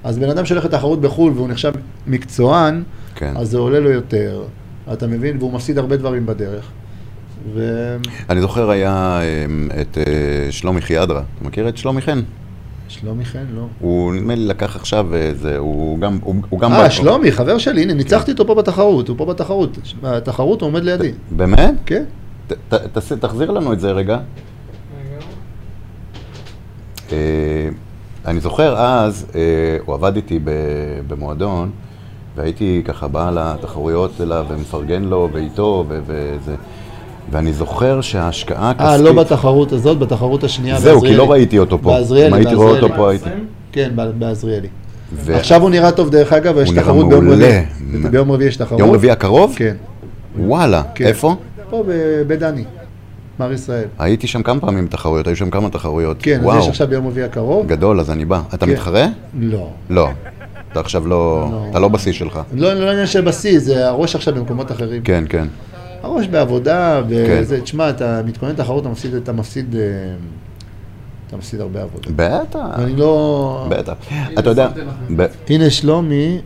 Speaker 3: אז בן אדם שהולך לתחרות בחו"ל והוא נחשב מקצוען,
Speaker 2: כן.
Speaker 3: אז זה עולה לו יותר, אתה מבין? והוא מפסיד הרבה דברים בדרך.
Speaker 2: אני זוכר היה אמ, את אה, שלומי חיאדרה. אתה מכיר את שלומי חן?
Speaker 3: ושלומי חן, לא.
Speaker 2: הוא נדמה לי לקח עכשיו איזה, הוא גם... הוא הוא גם
Speaker 3: אה,
Speaker 2: בא-
Speaker 3: שלומי, חבר שלי, הנה, ניצחתי אותו פה בתחרות, הוא פה בתחרות. בתחרות הוא עומד לידי.
Speaker 2: באמת?
Speaker 3: כן?
Speaker 2: ת- ת- תעשה- תחזיר לנו את זה רגע. אה, אני זוכר אז, אה, הוא עבד איתי ב- במועדון, והייתי ככה בא לתחרויות אליו ומפרגן לו ואיתו ו- וזה. ואני זוכר שההשקעה הכספית...
Speaker 3: אה, לא בתחרות הזאת, בתחרות השנייה
Speaker 2: זהו, כי
Speaker 3: בעזריאלי.
Speaker 2: לא ראיתי אותו פה.
Speaker 3: בעזריאלי,
Speaker 2: אם הייתי רואה אותו
Speaker 3: בעזריאלי.
Speaker 2: פה, הייתי...
Speaker 3: כן, ב- בעזריאלי.
Speaker 2: ו-
Speaker 3: עכשיו הוא נראה טוב, דרך אגב, יש
Speaker 2: נראה
Speaker 3: תחרות ביום
Speaker 2: מעולה.
Speaker 3: רביעי. ביום רביעי יש תחרות.
Speaker 2: יום רביעי הקרוב?
Speaker 3: כן.
Speaker 2: וואלה,
Speaker 3: כן.
Speaker 2: איפה?
Speaker 3: פה ב- בדני, מר ישראל.
Speaker 2: הייתי שם כמה פעמים תחרויות, היו שם כמה תחרויות.
Speaker 3: כן,
Speaker 2: וואו,
Speaker 3: אז יש עכשיו ביום רביעי הקרוב?
Speaker 2: גדול, אז אני בא. אתה
Speaker 3: כן.
Speaker 2: מתחרה?
Speaker 3: לא.
Speaker 2: לא. אתה עכשיו לא...
Speaker 3: לא.
Speaker 2: אתה לא בשיא שלך.
Speaker 3: לא, לא עניין של בשיא, זה הראש עכשיו במקומות אחרים.
Speaker 2: כן, כן.
Speaker 3: הראש בעבודה,
Speaker 2: כן.
Speaker 3: וזה, תשמע, אתה מתכונן לתחרות, אתה מפסיד, אתה מפסיד, אה, אתה מפסיד הרבה עבודה.
Speaker 2: בטח,
Speaker 3: אני לא...
Speaker 2: בטח. אתה יודע... ב-
Speaker 3: הנה שלומי,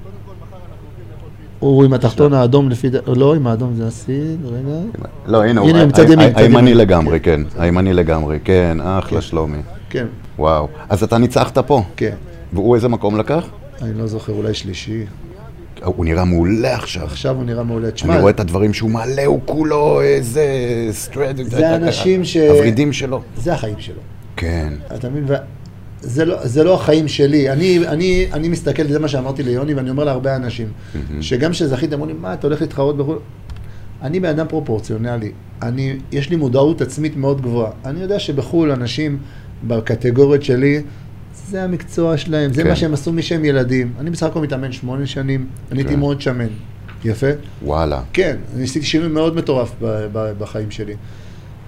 Speaker 3: הוא עם התחתון האדום לפי... ד- לא, עם האדום זה הסיד, רגע.
Speaker 2: לא, הנה, הוא
Speaker 3: הנה,
Speaker 2: ה-
Speaker 3: עם צד
Speaker 2: ה-
Speaker 3: ימין,
Speaker 2: ה-
Speaker 3: צד
Speaker 2: הימני
Speaker 3: ימין.
Speaker 2: לגמרי, כן. הימני לגמרי, כן, אחלה שלומי.
Speaker 3: כן,
Speaker 2: וואו. אז אתה ניצחת פה.
Speaker 3: כן.
Speaker 2: והוא איזה מקום לקח?
Speaker 3: אני לא זוכר, אולי שלישי.
Speaker 2: הוא נראה מעולה עכשיו.
Speaker 3: עכשיו הוא נראה מעולה. תשמע,
Speaker 2: אני רואה את הדברים שהוא מעלה, הוא כולו איזה... סטרד...
Speaker 3: זה אנשים ש-
Speaker 2: הוורידים שלו.
Speaker 3: זה החיים שלו.
Speaker 2: כן.
Speaker 3: אתה מבין? ו- זה לא, זה לא החיים שלי. אני, אני, אני מסתכל, זה מה שאמרתי ליוני, ואני אומר להרבה אנשים, שגם כשזכיתי, אמרו לי, מה, אתה הולך להתחרות בחו"ל? אני בן אדם פרופורציונלי. אני, יש לי מודעות עצמית מאוד גבוהה. אני יודע שבחו"ל אנשים בקטגוריות שלי, זה המקצוע שלהם, זה
Speaker 2: כן.
Speaker 3: מה שהם עשו משהם ילדים. אני בסך הכל מתאמן שמונה שנים, אני הייתי
Speaker 2: כן.
Speaker 3: מאוד שמן. יפה?
Speaker 2: וואלה.
Speaker 3: כן, אני עשיתי שינוי מאוד מטורף ב- ב- בחיים שלי.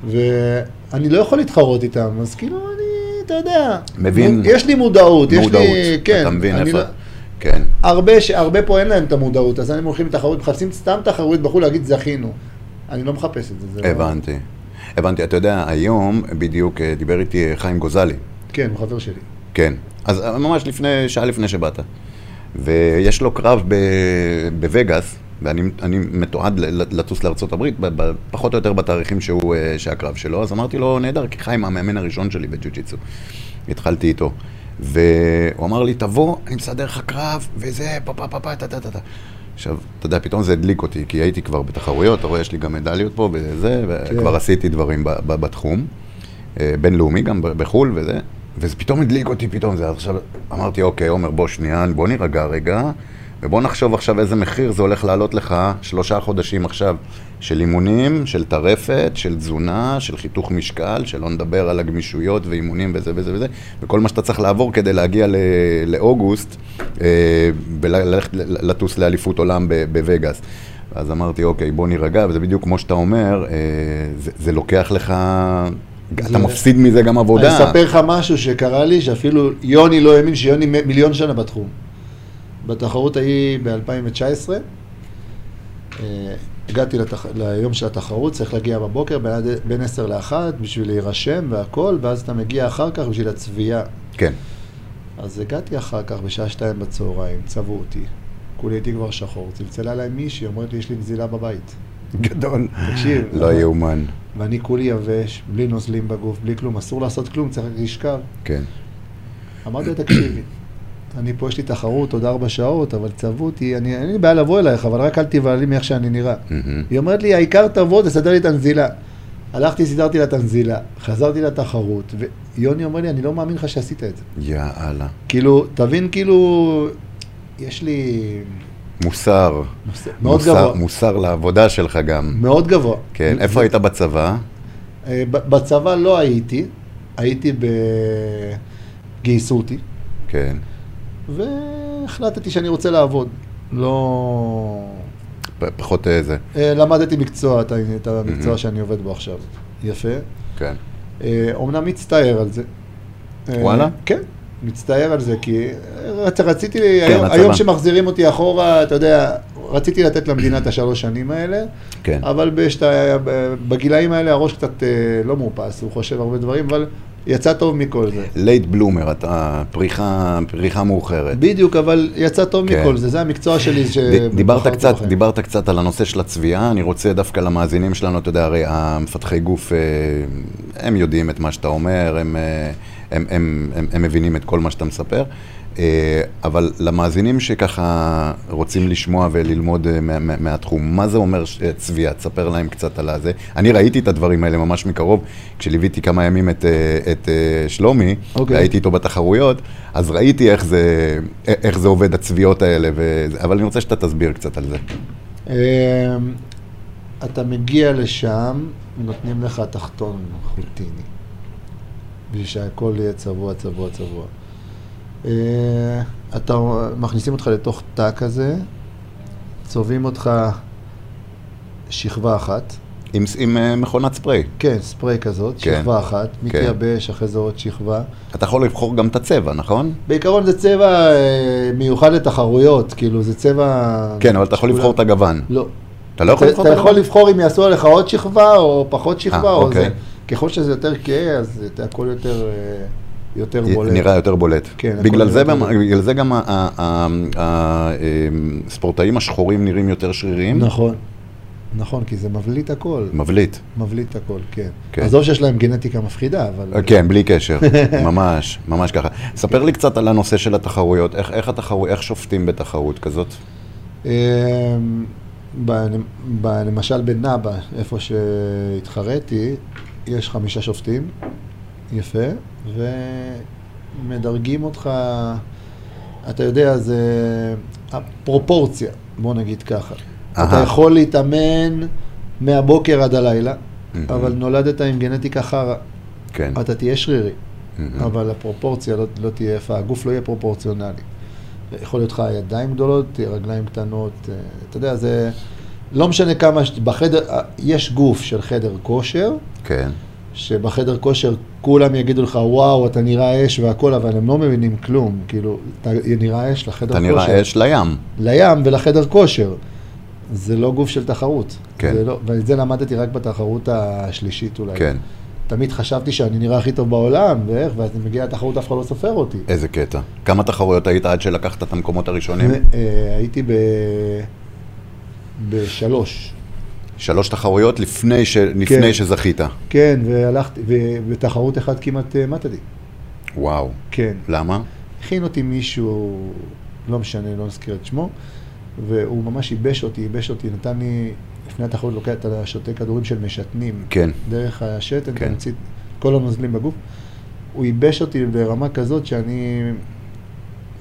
Speaker 3: ואני לא יכול להתחרות איתם, אז כאילו אני, אתה יודע.
Speaker 2: מבין.
Speaker 3: יש לי מודעות, יש
Speaker 2: מודעות.
Speaker 3: לי, כן.
Speaker 2: אתה מבין
Speaker 3: אני
Speaker 2: איפה...
Speaker 3: לא-
Speaker 2: כן.
Speaker 3: הרבה, ש- הרבה פה אין להם את המודעות, אז הם הולכים לתחרות, מחפשים סתם תחרות בחו"ל להגיד זכינו. אני לא מחפש את זה. זה לא-
Speaker 2: הבנתי. הבנתי. אתה יודע, היום בדיוק אה, דיבר איתי אה, חיים גוזלי.
Speaker 3: כן, הוא חבר שלי.
Speaker 2: כן. אז אה, ממש לפני, שעה לפני שבאת. ויש לו קרב ב, בווגאס, ואני אני מתועד ל- ל- לטוס לארה"ב, פחות או יותר בתאריכים שהוא, אה, שהקרב שלו, אז אמרתי לו, נהדר, כי חיים המאמן הראשון שלי בג'ו-ג'יצו. התחלתי איתו. והוא אמר לי, תבוא, אני מסדר לך קרב, וזה, פה, פה, פה, פה, טה, טה, טה. טה." עכשיו, אתה יודע, פתאום זה הדליק אותי, כי הייתי כבר בתחרויות, אתה רואה, יש לי גם מדליות פה וזה, וכבר
Speaker 3: כן.
Speaker 2: עשיתי דברים ב- ב- בתחום, אה, בינלאומי גם ב- בחו"ל וזה, וזה פתאום הדליק אותי פתאום, זה אז עכשיו, אמרתי, אוקיי, עומר, בוא שנייה, בוא נירגע רגע, ובוא נחשוב עכשיו איזה מחיר זה הולך לעלות לך שלושה חודשים עכשיו, של אימונים, של טרפת, של תזונה, של חיתוך משקל, שלא נדבר על הגמישויות ואימונים וזה וזה וזה, וכל מה שאתה צריך לעבור כדי להגיע ל- לאוגוסט, אה, וללכת ל- לטוס לאליפות עולם ב- בווגאס. אז אמרתי, אוקיי, בוא נירגע, וזה בדיוק כמו שאתה אומר, אה, זה, זה לוקח לך, אתה מפסיד מזה גם
Speaker 3: אני
Speaker 2: עבודה.
Speaker 3: אספר לך משהו שקרה לי, שאפילו יוני לא האמין שיוני מ- מיליון שנה בתחום. בתחרות ההיא ב-2019, אה, הגעתי לתח... ליום של התחרות, צריך להגיע בבוקר בין, עד- בין 10 ל-1 בשביל להירשם והכל, ואז אתה מגיע אחר כך בשביל הצביעה.
Speaker 2: כן,
Speaker 3: אז הגעתי אחר כך בשעה 2 בצהריים, צבעו אותי. כולי הייתי כבר שחור, צלצלה אליי מישהי, אומרת לי, יש לי נזילה בבית.
Speaker 2: גדול.
Speaker 3: תקשיב.
Speaker 2: לא יאומן,
Speaker 3: ואני כולי יבש, בלי נוזלים בגוף, בלי כלום, אסור לעשות כלום, צריך רק לשכב.
Speaker 2: כן.
Speaker 3: אמרתי לה, תקשיבי, אני פה, יש לי תחרות עוד ארבע שעות, אבל צבעו אותי, אני, אין לי בעיה לבוא אלייך, אבל רק אל תבהלי מאיך שאני נראה.
Speaker 2: מהמם.
Speaker 3: היא אומרת לי, העיקר תבוא, תסדר לי את הנזילה. הלכתי, סידרתי לה את הנזילה, חזרתי לתחרות, ויוני אומר לי, אני לא מאמין לך שעשית את זה.
Speaker 2: יאללה.
Speaker 3: כאילו, תבין, כאילו, יש לי
Speaker 2: מוסר.
Speaker 3: נושא מאוד
Speaker 2: מוסר-
Speaker 3: גבוה,
Speaker 2: מוסר לעבודה שלך גם.
Speaker 3: מאוד גבוה.
Speaker 2: כן, איפה היית בצבא?
Speaker 3: אה, ב- בצבא לא הייתי, הייתי ב... גייסו אותי,
Speaker 2: כן.
Speaker 3: והחלטתי שאני רוצה לעבוד. לא...
Speaker 2: פ- פחות איזה.
Speaker 3: אה, למדתי מקצוע, את ה- את המקצוע שאני עובד בו עכשיו. יפה.
Speaker 2: כן.
Speaker 3: אה, אומנם מצטער על זה. אה,
Speaker 2: וואלה?
Speaker 3: כן, מצטער על זה, כי אה, רצ- רציתי, היום-
Speaker 2: הצבא.
Speaker 3: היום שמחזירים אותי אחורה, אתה יודע, רציתי לתת למדינה את השלוש שנים האלה,
Speaker 2: כן.
Speaker 3: אבל בשת- בגילאים האלה הראש קצת אה, לא מאופס, הוא חושב הרבה דברים, אבל יצא טוב מכל זה.
Speaker 2: לייט בלומר, אתה פריחה, פריחה מאוחרת.
Speaker 3: בדיוק, אבל יצא טוב
Speaker 2: כן.
Speaker 3: מכל זה, זה המקצוע שלי. ש-
Speaker 2: ד- דיברת
Speaker 3: בחרתי
Speaker 2: קצת,
Speaker 3: בחיים.
Speaker 2: דיברת קצת על הנושא של הצביעה, אני רוצה דווקא למאזינים שלנו, אתה יודע, הרי המפתחי גוף, אה, הם יודעים את מה שאתה אומר, הם, אה, הם, הם, הם, הם מבינים את כל מה שאתה מספר, אה, אבל למאזינים שככה רוצים לשמוע וללמוד אה, מה- מה- מהתחום, מה זה אומר ש- אה, צביעה? תספר להם קצת על הזה. אני ראיתי את הדברים האלה ממש מקרוב, כשליוויתי כמה ימים את, אה, את אה, שלומי,
Speaker 3: אוקיי.
Speaker 2: הייתי איתו בתחרויות, אז ראיתי איך זה, א- איך זה עובד, הצביעות האלה, ו... אבל אני רוצה שאתה תסביר קצת על זה.
Speaker 3: אמ, אתה מגיע לשם, נותנים לך תחתון חוטיני, בשביל שהכל יהיה צבוע, צבוע, צבוע. אה, אתה, מכניסים אותך לתוך תא כזה, צובעים אותך שכבה אחת,
Speaker 2: עם, עם אה, מכונת ספרי.
Speaker 3: כן, ספרי כזאת,
Speaker 2: כן.
Speaker 3: שכבה אחת, מתייבש, אחרי זה עוד שכבה.
Speaker 2: אתה יכול לבחור גם את הצבע, נכון?
Speaker 3: בעיקרון זה צבע אה, מיוחד לתחרויות, כאילו זה צבע...
Speaker 2: כן, אבל אתה יכול
Speaker 3: שכולם-
Speaker 2: לבחור את הגוון.
Speaker 3: לא,
Speaker 2: אתה לא יכול
Speaker 3: אתה-
Speaker 2: לבחור
Speaker 3: אתה
Speaker 2: את
Speaker 3: יכול
Speaker 2: הגוון?
Speaker 3: לבחור אם יעשו עליך עוד שכבה או פחות שכבה,
Speaker 2: אה,
Speaker 3: או
Speaker 2: אוקיי.
Speaker 3: זה. ככל שזה יותר כהה, אז זה הכל יותר, אה, יותר בולט.
Speaker 2: נראה יותר בולט.
Speaker 3: כן, הכל
Speaker 2: בגלל, זה
Speaker 3: נראה
Speaker 2: גם-
Speaker 3: יותר
Speaker 2: בגלל זה גם ה- ה- ה- ה- אמ, הספורטאים השחורים נראים יותר שריריים.
Speaker 3: נכון, נכון, כי זה מבליט הכל,
Speaker 2: מבליט.
Speaker 3: מבליט הכל, כן.
Speaker 2: כן.
Speaker 3: עזוב שיש להם גנטיקה מפחידה, אבל...
Speaker 2: אה, כן, בלי
Speaker 3: [LAUGHS]
Speaker 2: קשר, ממש, ממש ככה. ספר לי קצת על הנושא של התחרויות, איך, איך, התחרו, איך שופטים בתחרות כזאת?
Speaker 3: אמ, ב- ב- למשל בנאבה, איפה שהתחרתי, יש חמישה שופטים, יפה, ומדרגים אותך, אתה יודע, זה הפרופורציה, בוא נגיד ככה. אתה
Speaker 2: אהה.
Speaker 3: יכול להתאמן מהבוקר עד הלילה,
Speaker 2: מהמם.
Speaker 3: אבל נולדת עם גנטיקה חרא,
Speaker 2: כן.
Speaker 3: אתה תהיה שרירי.
Speaker 2: מהמם.
Speaker 3: אבל הפרופורציה לא, לא תהיה יפה, הגוף לא יהיה פרופורציונלי. יכול להיות לך ידיים גדולות, רגליים קטנות, אה, אתה יודע, זה... לא משנה כמה, ש- בחדר, אה, יש גוף של חדר כושר,
Speaker 2: כן.
Speaker 3: שבחדר כושר כולם יגידו לך, וואו, אתה נראה אש והכל, אבל הם לא מבינים כלום, כאילו, אתה נראה אש לחדר
Speaker 2: אתה
Speaker 3: כושר.
Speaker 2: נראה אש לים.
Speaker 3: לים ולחדר כושר. זה לא גוף של תחרות.
Speaker 2: כן.
Speaker 3: זה לא, ואת זה למדתי רק בתחרות השלישית אולי.
Speaker 2: כן.
Speaker 3: תמיד חשבתי שאני נראה הכי טוב בעולם, ואיך, ואז אני מגיע לתחרות, אף אחד לא סופר אותי.
Speaker 2: איזה קטע. כמה תחרויות היית עד שלקחת את המקומות הראשונים?
Speaker 3: אה, הייתי ב... בשלוש.
Speaker 2: שלוש תחרויות לפני, ש... לפני שזכית.
Speaker 3: כן, והלכתי, ובתחרות אחת כמעט אה, מטתי.
Speaker 2: וואו.
Speaker 3: כן.
Speaker 2: למה?
Speaker 3: הכין אותי מישהו, לא משנה, לא נזכיר את שמו, והוא ממש ייבש אותי, ייבש אותי, נתן לי, לפני התחרות לוקח, אתה שותה כדורים של משתנים.
Speaker 2: כן.
Speaker 3: דרך השתן,
Speaker 2: כן.
Speaker 3: כן. תמצית כל הנוזלים בגוף. הוא ייבש אותי ברמה כזאת שאני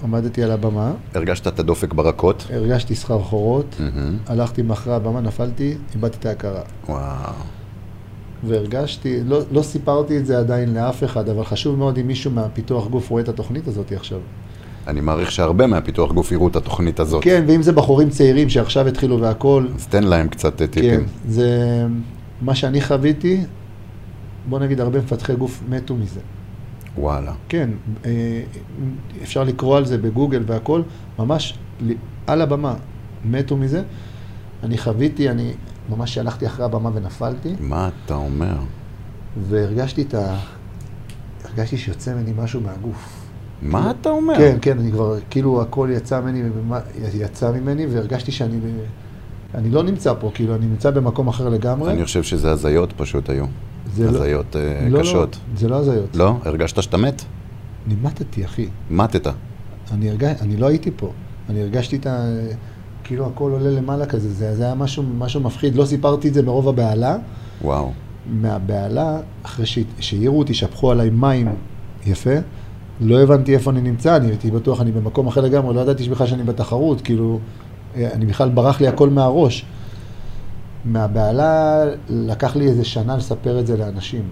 Speaker 3: עמדתי על הבמה,
Speaker 2: הרגשת את הדופק Mm-hmm. ברקות?
Speaker 3: כן. הרגשתי סחרחורות,
Speaker 2: מהמם.
Speaker 3: הלכתי מאחורי הבמה, נפלתי, איבדתי את ההכרה.
Speaker 2: וואו.
Speaker 3: והרגשתי, לא, לא סיפרתי את זה עדיין לאף אחד, אבל חשוב מאוד אם מישהו מהפיתוח גוף רואה את התוכנית הזאת עכשיו.
Speaker 2: אני מעריך שהרבה מהפיתוח גוף יראו את התוכנית הזאת.
Speaker 3: כן, ואם זה בחורים צעירים שעכשיו התחילו והכול,
Speaker 2: אז תן להם קצת אה,
Speaker 3: כן,
Speaker 2: טיפים.
Speaker 3: זה מה שאני חוויתי, בוא נגיד הרבה מפתחי גוף מתו מזה.
Speaker 2: וואלה.
Speaker 3: כן, אה, אפשר לקרוא על זה בגוגל והכל, ממש ל- על הבמה, מתו מזה. אני חוויתי, אני ממש הלכתי אחרי הבמה ונפלתי,
Speaker 2: מה אתה אומר?
Speaker 3: והרגשתי את ה... הרגשתי שיוצא ממני משהו מהגוף.
Speaker 2: מה אתה אומר?
Speaker 3: כן, כן, אני כבר, כאילו הכל יצא ממני, ומה- יצא ממני, והרגשתי שאני... אני לא נמצא פה, כאילו, אני נמצא במקום אחר לגמרי.
Speaker 2: אני חושב שזה הזיות פשוט היו.
Speaker 3: זה לא-
Speaker 2: הזיות אה,
Speaker 3: לא, לא,
Speaker 2: קשות.
Speaker 3: זה לא הזיות.
Speaker 2: לא? הרגשת שאתה מת?
Speaker 3: נימטתי, אחי.
Speaker 2: מתת.
Speaker 3: אני, הרג... אני לא הייתי פה, אני הרגשתי את ה... כאילו הכל עולה למעלה כזה, זה, זה היה משהו, משהו מפחיד, לא סיפרתי את זה מרוב הבהלה.
Speaker 2: וואו.
Speaker 3: מהבהלה, אחרי ש- שהעירו אותי, שפכו עליי מים יפה, לא הבנתי איפה אני נמצא, אני הייתי בטוח, אני במקום אחר לגמרי, לא ידעתי בכלל שאני בתחרות, כאילו, אה, אני בכלל ברח לי הכל מהראש. מהבהלה, לקח לי איזה שנה לספר את זה לאנשים.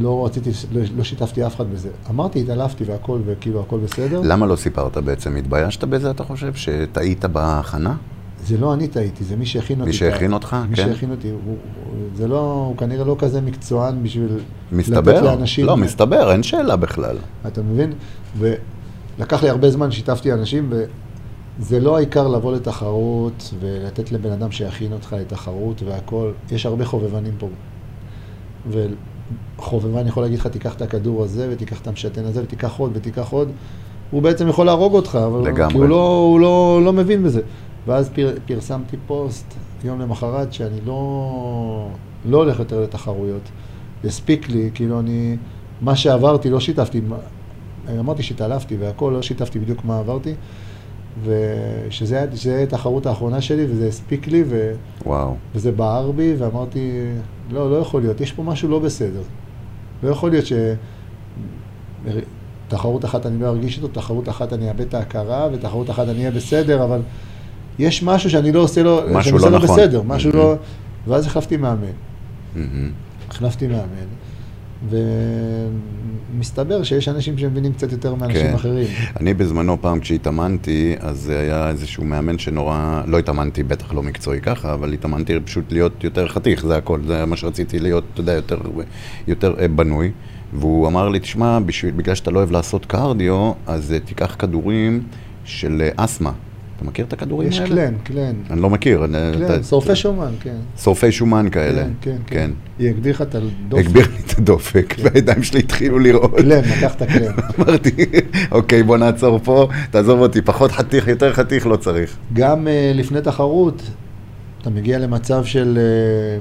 Speaker 3: לא רציתי, לא, לא שיתפתי אף אחד בזה. אמרתי, התעלפתי והכל, וכאילו, הכל בסדר.
Speaker 2: למה לא סיפרת בעצם? התביישת בזה, אתה חושב? שטעית בהכנה?
Speaker 3: זה לא אני טעיתי, זה מי שהכין אותי.
Speaker 2: מי שהכין אותך?
Speaker 3: לא מי
Speaker 2: כן.
Speaker 3: שהכין אותי, הוא, הוא, זה לא, הוא כנראה לא כזה מקצוען בשביל
Speaker 2: מסתבר?
Speaker 3: לתת לאנשים...
Speaker 2: לא, מסתבר, אין שאלה בכלל.
Speaker 3: אתה מבין? ולקח לי הרבה זמן, שיתפתי אנשים, וזה לא העיקר לבוא לתחרות ולתת לבן אדם שיכין אותך לתחרות והכול. יש הרבה חובבנים פה. וחובבן יכול להגיד לך, תיקח את הכדור הזה, ותיקח את המשתן הזה, ותיקח עוד, ותיקח עוד. הוא בעצם יכול להרוג אותך, אבל
Speaker 2: לגמרי.
Speaker 3: כי הוא, לא, הוא לא, לא מבין בזה. ואז פר, פרסמתי פוסט יום למחרת, שאני לא, לא הולך יותר לתחרויות. הספיק לי, כאילו אני, מה שעברתי לא שיתפתי, מה- אמרתי שהתעלפתי והכל, לא שיתפתי בדיוק מה עברתי. ושזה היה- שזה היה התחרות האחרונה שלי, וזה הספיק לי, ו...
Speaker 2: וואו.
Speaker 3: וזה בער בי, ואמרתי, לא, לא יכול להיות, יש פה משהו לא בסדר. לא יכול להיות ש... תחרות אחת אני לא ארגיש אותו, תחרות אחת אני אאבד את ההכרה, ותחרות אחת אני אהיה בסדר, אבל יש משהו שאני לא עושה לו,
Speaker 2: משהו
Speaker 3: שאני
Speaker 2: לא
Speaker 3: עושה לו
Speaker 2: נכון.
Speaker 3: בסדר, משהו
Speaker 2: Mhm.
Speaker 3: לא... ואז החלפתי מאמן.
Speaker 2: מהמם.
Speaker 3: החלפתי מאמן, ומסתבר שיש אנשים שמבינים קצת יותר מאנשים
Speaker 2: כן.
Speaker 3: אחרים.
Speaker 2: אני בזמנו, פעם כשהתאמנתי, אז זה היה איזשהו מאמן שנורא... לא התאמנתי, בטח לא מקצועי ככה, אבל התאמנתי פשוט להיות יותר חתיך, זה הכל. זה היה מה שרציתי להיות, אתה יודע, יותר, יותר אה, בנוי. והוא אמר לי, תשמע, בשביל, בגלל שאתה לא אוהב לעשות קרדיו, אז אה, תיקח כדורים של אה, אסתמה. אתה מכיר את הכדורים
Speaker 3: יש
Speaker 2: האלה?
Speaker 3: קלן, קלן,
Speaker 2: אני לא מכיר. אני-
Speaker 3: קלן,
Speaker 2: אתה-
Speaker 3: שורפי שומן, כן.
Speaker 2: שורפי שומן כאלה.
Speaker 3: כן, כן, כן. היא הגדיר לך את הדופן.
Speaker 2: הגביר לי את הדופק, והידיים שלי התחילו לרעוד.
Speaker 3: קלן, לקחת קלן.
Speaker 2: אמרתי, אוקיי, בוא נעצור פה, תעזוב אותי, פחות חתיך, יותר חתיך, לא צריך.
Speaker 3: גם אה, לפני תחרות, אתה מגיע למצב של אה,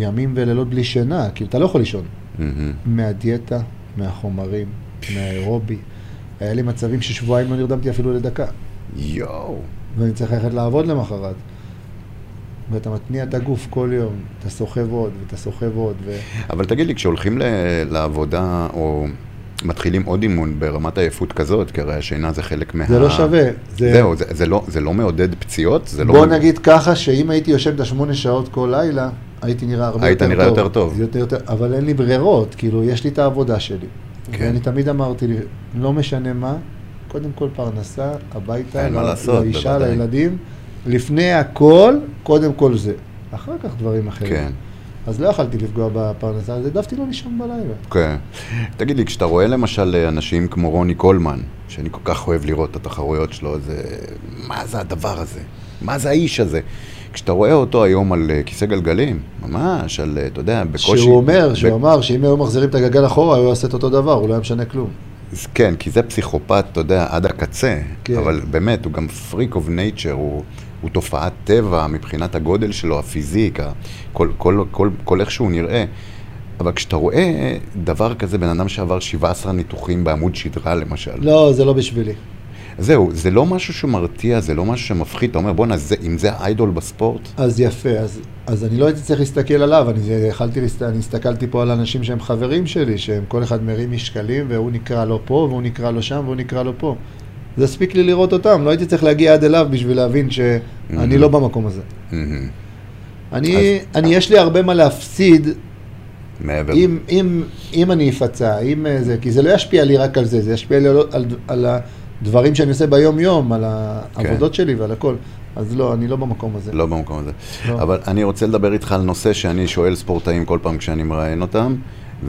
Speaker 3: ימים ולילות בלי שינה, כי אתה לא יכול לישון.
Speaker 2: מהמם.
Speaker 3: מהדיאטה, מהחומרים, מהאירובי. היה לי מצבים ששבועיים לא נרדמתי אפילו לדקה,
Speaker 2: יואו.
Speaker 3: ואני צריך ללכת לעבוד למחרת. ואתה מתניע את הגוף כל יום, אתה סוחב עוד, ואתה סוחב עוד, ו...
Speaker 2: אבל תגיד לי, כשהולכים ל- לעבודה, או מתחילים עוד אימון ברמת עייפות כזאת, כי הרי השינה זה חלק מה...
Speaker 3: זה לא שווה. זה-
Speaker 2: זהו, זה- זה לא- זה לא מעודד פציעות? זה לא-
Speaker 3: בוא נגיד ככה, שאם הייתי יושב את השמונה שעות כל לילה, הייתי נראה הרבה
Speaker 2: היית
Speaker 3: יותר טוב.
Speaker 2: נראה יותר טוב.
Speaker 3: יותר, יותר, אבל אין לי ברירות, כאילו, יש לי את העבודה שלי.
Speaker 2: כן.
Speaker 3: כן. ואני תמיד אמרתי, לי, לא משנה מה, קודם כל פרנסה, הביתה,
Speaker 2: אין מה
Speaker 3: ל-
Speaker 2: לעשות,
Speaker 3: לאישה,
Speaker 2: בוודאי.
Speaker 3: לילדים. לפני הכל, קודם כל זה. אחר כך דברים אחרים.
Speaker 2: כן.
Speaker 3: אז לא יכלתי לפגוע בפרנסה, אז העדפתי לא לישון בלילה.
Speaker 2: כן. תגיד לי, כשאתה רואה למשל אה, אנשים כמו רוני קולמן, שאני כל כך אוהב לראות את התחרויות שלו, זה... מה זה הדבר הזה? מה זה האיש הזה? כשאתה רואה אותו היום על אה, כיסא גלגלים, ממש, על, אה, אתה יודע, בקושי...
Speaker 3: שהוא אומר, שהוא
Speaker 2: ב-
Speaker 3: אמר שאם היו מחזירים את הגלגל אחורה, הוא היה עושה את אותו דבר, הוא לא היה משנה כלום.
Speaker 2: אז כן, כי זה פסיכופת, אתה יודע, עד הקצה, כן.
Speaker 3: כן.
Speaker 2: אבל באמת, הוא גם freak of nature, הוא, הוא תופעת טבע מבחינת הגודל שלו, הפיזיקה, כל, כל, כל, כל איך שהוא נראה. אבל כשאתה רואה דבר כזה, בן אדם שעבר 17 ניתוחים בעמוד שדרה, למשל,
Speaker 3: לא, זה לא בשבילי.
Speaker 2: זהו, זה לא משהו שמרתיע, זה לא משהו שמפחיד, אתה אומר, בואנה, זה- אם זה האיידול בספורט,
Speaker 3: אז יפה, אז, אז אני לא הייתי צריך להסתכל עליו, אני, זה- יכלתי, להסת- אני הסתכלתי פה על אנשים שהם חברים שלי, שהם כל אחד מרים משקלים, והוא נקרא לו פה, והוא נקרא לו שם, והוא נקרא לו פה. זה הספיק לי לראות אותם, לא הייתי צריך להגיע עד אליו בשביל להבין שאני לא במקום הזה.
Speaker 2: מהמם,
Speaker 3: אני, אני יש לי הרבה מה להפסיד
Speaker 2: מעבר.
Speaker 3: אם, אם, אם אני אפצע, אם אה, זה, כי זה לא ישפיע לי רק על זה, זה ישפיע לי על, על, על הדברים שאני עושה ביום-יום, על העבודות שלי ועל הכל. אז לא, אני לא במקום הזה.
Speaker 2: לא במקום הזה.
Speaker 3: לא.
Speaker 2: אבל אני רוצה לדבר איתך על נושא שאני שואל ספורטאים כל פעם כשאני מראיין אותם,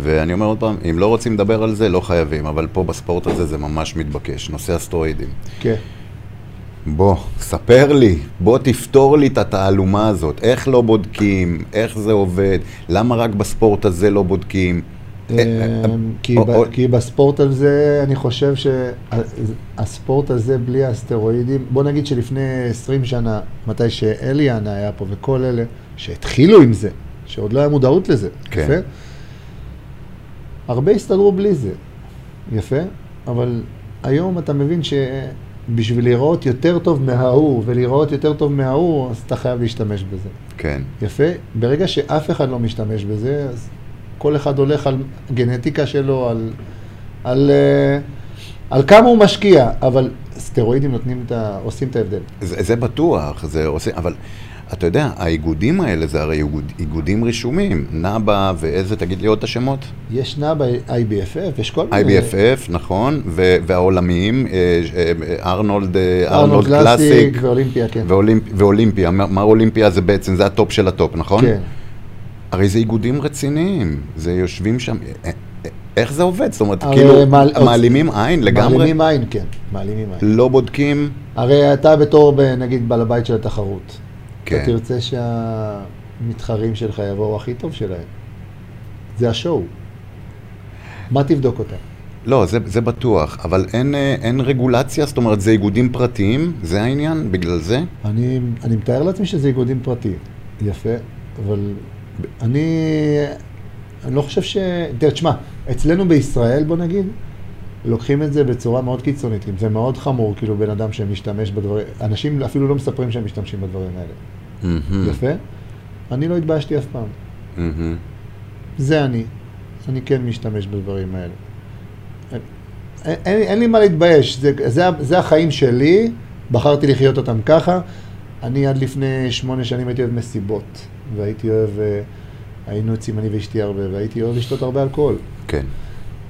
Speaker 2: ואני אומר עוד פעם, אם לא רוצים לדבר על זה, לא חייבים, אבל פה בספורט הזה זה ממש מתבקש, נושא הסטרואידים.
Speaker 3: כן.
Speaker 2: בוא, ספר לי, בוא תפתור לי את התעלומה הזאת, איך לא בודקים, איך זה עובד, למה רק בספורט הזה לא בודקים. אה, אה,
Speaker 3: אמ, כי
Speaker 2: או-
Speaker 3: ב-
Speaker 2: או-
Speaker 3: כי בספורט הזה, אני חושב שהספורט הזה בלי הסטרואידים, בוא נגיד שלפני 20 שנה, מתי שאליאן היה פה וכל אלה, שהתחילו עם זה, שעוד לא היה מודעות לזה,
Speaker 2: כן.
Speaker 3: יפה? הרבה הסתדרו בלי זה, יפה? אבל היום אתה מבין ש... בשביל להיראות יותר טוב מההוא, ולהיראות יותר טוב מההוא, אז אתה חייב להשתמש בזה.
Speaker 2: כן,
Speaker 3: יפה. ברגע שאף אחד לא משתמש בזה, אז כל אחד הולך על גנטיקה שלו, על, על, אה, על כמה הוא משקיע, אבל סטרואידים נותנים את ה... עושים את ההבדל.
Speaker 2: זה, זה בטוח, זה עושה, אבל אתה יודע, האיגודים האלה זה הרי איגוד, איגודים רשומים, נאבה ואיזה, תגיד לי עוד את השמות?
Speaker 3: יש נאבה, IBFF, יש כל מיני...
Speaker 2: IBFF, נכון, ו- והעולמיים, אה, אה, אה, ארנולד, אה,
Speaker 3: ארנולד קלאסיק ואולימפיה, כן.
Speaker 2: ואולימפ- ואולימפיה, מה מה אולימפיה זה בעצם, זה הטופ של הטופ, נכון?
Speaker 3: כן.
Speaker 2: הרי זה איגודים רציניים, זה יושבים שם, אה, אה, איך זה עובד? זאת אומרת,
Speaker 3: הרי
Speaker 2: כאילו,
Speaker 3: מעל-
Speaker 2: מעלימים עין לגמרי,
Speaker 3: מעלימים עין, כן. מעלימים עין.
Speaker 2: לא בודקים,
Speaker 3: הרי אתה בתור, ב- נגיד, בעל הבית של התחרות. אתה
Speaker 2: כן,
Speaker 3: תרצה שהמתחרים שלך יבואו הכי טוב שלהם. זה השואו. מה תבדוק אותם?
Speaker 2: לא, זה, זה בטוח, אבל אין, אה, אין רגולציה, זאת אומרת, זה איגודים פרטיים, זה העניין, בגלל זה?
Speaker 3: אני, אני מתאר לעצמי שזה איגודים פרטיים. יפה, אבל אני, אני לא חושב ש... תראה, תשמע, אצלנו בישראל, בוא נגיד, לוקחים את זה בצורה מאוד קיצונית. כי זה מאוד חמור, כאילו, בן אדם שמשתמש בדברים... אנשים אפילו לא מספרים שהם משתמשים בדברים האלה.
Speaker 2: מהמם,
Speaker 3: יפה? אני לא התביישתי אף פעם.
Speaker 2: מהמם.
Speaker 3: זה אני. אני כן משתמש בדברים האלה. אין, אין, אין לי מה להתבייש, זה, זה, ה- זה החיים שלי, בחרתי לחיות אותם ככה. אני עד לפני שמונה שנים הייתי אוהב מסיבות, והייתי אוהב, אה, היינו יוצאים אני ואשתי הרבה, והייתי אוהב לשתות הרבה אלכוהול.
Speaker 2: כן,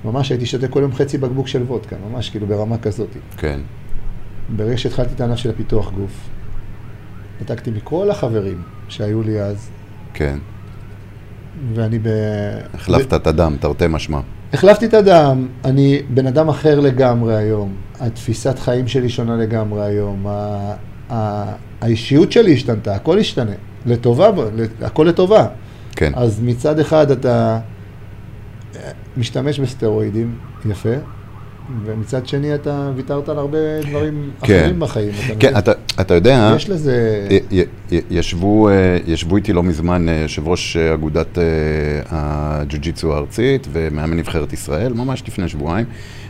Speaker 3: ממש הייתי שותה כל יום חצי בקבוק של וודקה, ממש כאילו ברמה כזאת.
Speaker 2: כן,
Speaker 3: ברגע שהתחלתי את הענף של הפיתוח גוף, נתקתי מכל החברים שהיו לי אז,
Speaker 2: כן,
Speaker 3: ואני ב...
Speaker 2: החלפת את הדם, תרתי משמע.
Speaker 3: החלפתי את הדם, אני בן אדם אחר לגמרי היום. התפיסת חיים שלי שונה לגמרי היום. ה- ה- האישיות שלי השתנתה, הכל השתנה. לטובה, ב- ל- הכל לטובה.
Speaker 2: כן,
Speaker 3: אז מצד אחד אתה אה, משתמש בסטרואידים, יפה, ומצד שני אתה ויתרת על הרבה דברים
Speaker 2: כן.
Speaker 3: אחרים בחיים. אתה
Speaker 2: כן,
Speaker 3: מבין?
Speaker 2: אתה, אתה אה, יודע...
Speaker 3: יש לזה...
Speaker 2: י- י- י- ישבו, אה, ישבו איתי לא מזמן אה, יושב ראש אה, אגודת אה, הג'ו-ג'יצו הארצית ומאמן נבחרת ישראל, ממש לפני שבועיים,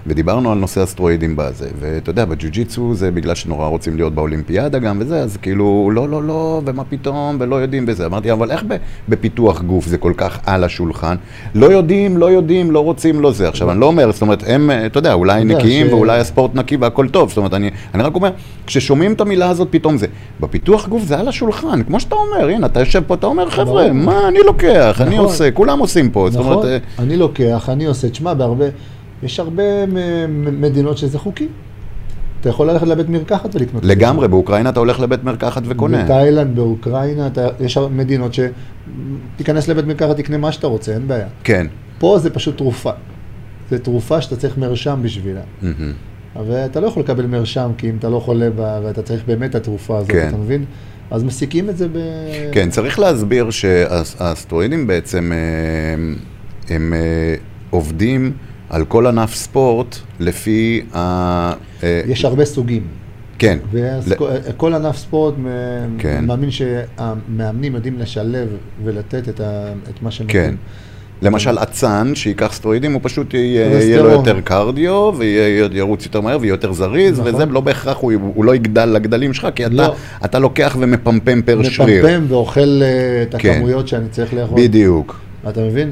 Speaker 2: ודיברנו על נושא הסטרואידים בזה. ואתה יודע, בג'ו-ג'יצו זה בגלל שנורא רוצים להיות באולימפיאדה גם וזה, אז כאילו, לא, לא, לא, ומה פתאום, ולא יודעים וזה. אמרתי, אבל איך ב- בפיתוח גוף זה כל כך על השולחן? לא יודעים, לא יודעים, לא רוצים, לא זה. עכשיו, אני לא אומר, זאת אומרת, הם, אה, אתה יודע, אולי
Speaker 3: יודע,
Speaker 2: נקיים
Speaker 3: ש-
Speaker 2: ואולי הספורט נקי והכל טוב, זאת אומרת, אני, אני רק אומר, כששומעים את המילה הזאת פתאום זה, בפיתוח גוף זה על השולחן, כמו שאתה אומר, הנה, אתה יושב פה, אתה אומר, חבר'ה,
Speaker 3: ברור.
Speaker 2: מה אני לוקח, אני
Speaker 3: נכון.
Speaker 2: עושה, כולם עושים פה, זאת
Speaker 3: נכון,
Speaker 2: אומרת, אה,
Speaker 3: אני לוקח, אני עושה, תשמע, בהרבה, יש הרבה מ- מ- מדינות שזה חוקי. אתה יכול ללכת לבית מרקחת ולקנות. את זה.
Speaker 2: לגמרי, באוקראינה אתה הולך לבית מרקחת וקונה,
Speaker 3: בתאילנד, באוקראינה, אתה, יש הר- מדינות שתיכנס לבית מרקחת, תקנה מה שאתה רוצה, אין בעיה.
Speaker 2: כן,
Speaker 3: פה זה פשוט תרופה. זה תרופה שאתה צריך מרשם בשבילה.
Speaker 2: מהמם,
Speaker 3: ואתה לא יכול לקבל מרשם, כי אם אתה לא חולה בה, ואתה צריך באמת את התרופה הזאת,
Speaker 2: כן.
Speaker 3: אתה מבין? אז מסיקים את זה ב...
Speaker 2: כן, צריך להסביר שהאסטרואידים בעצם, אה, הם אה, עובדים על כל ענף ספורט לפי ה... אה,
Speaker 3: יש הרבה סוגים.
Speaker 2: כן,
Speaker 3: וכל ענף ספורט, מ-
Speaker 2: כן.
Speaker 3: מאמין שהמאמנים יודעים לשלב ולתת את, ה, את מה שהם
Speaker 2: כן.
Speaker 3: נותנים.
Speaker 2: למשל אצן, שייקח סטרואידים, הוא פשוט יהיה,
Speaker 3: טולסטרון.
Speaker 2: יהיה לו יותר קרדיו, וירוץ יותר מהר, ויהיה יותר זריז,
Speaker 3: נכון.
Speaker 2: וזה לא בהכרח, הוא, הוא לא יגדל לגדלים שלך, כי אתה,
Speaker 3: לא.
Speaker 2: אתה לוקח ומפמפם פר שריר.
Speaker 3: מפמפם נכון. ואוכל אה, את
Speaker 2: כן.
Speaker 3: הכמויות שאני צריך לאכול.
Speaker 2: בדיוק.
Speaker 3: אתה מבין?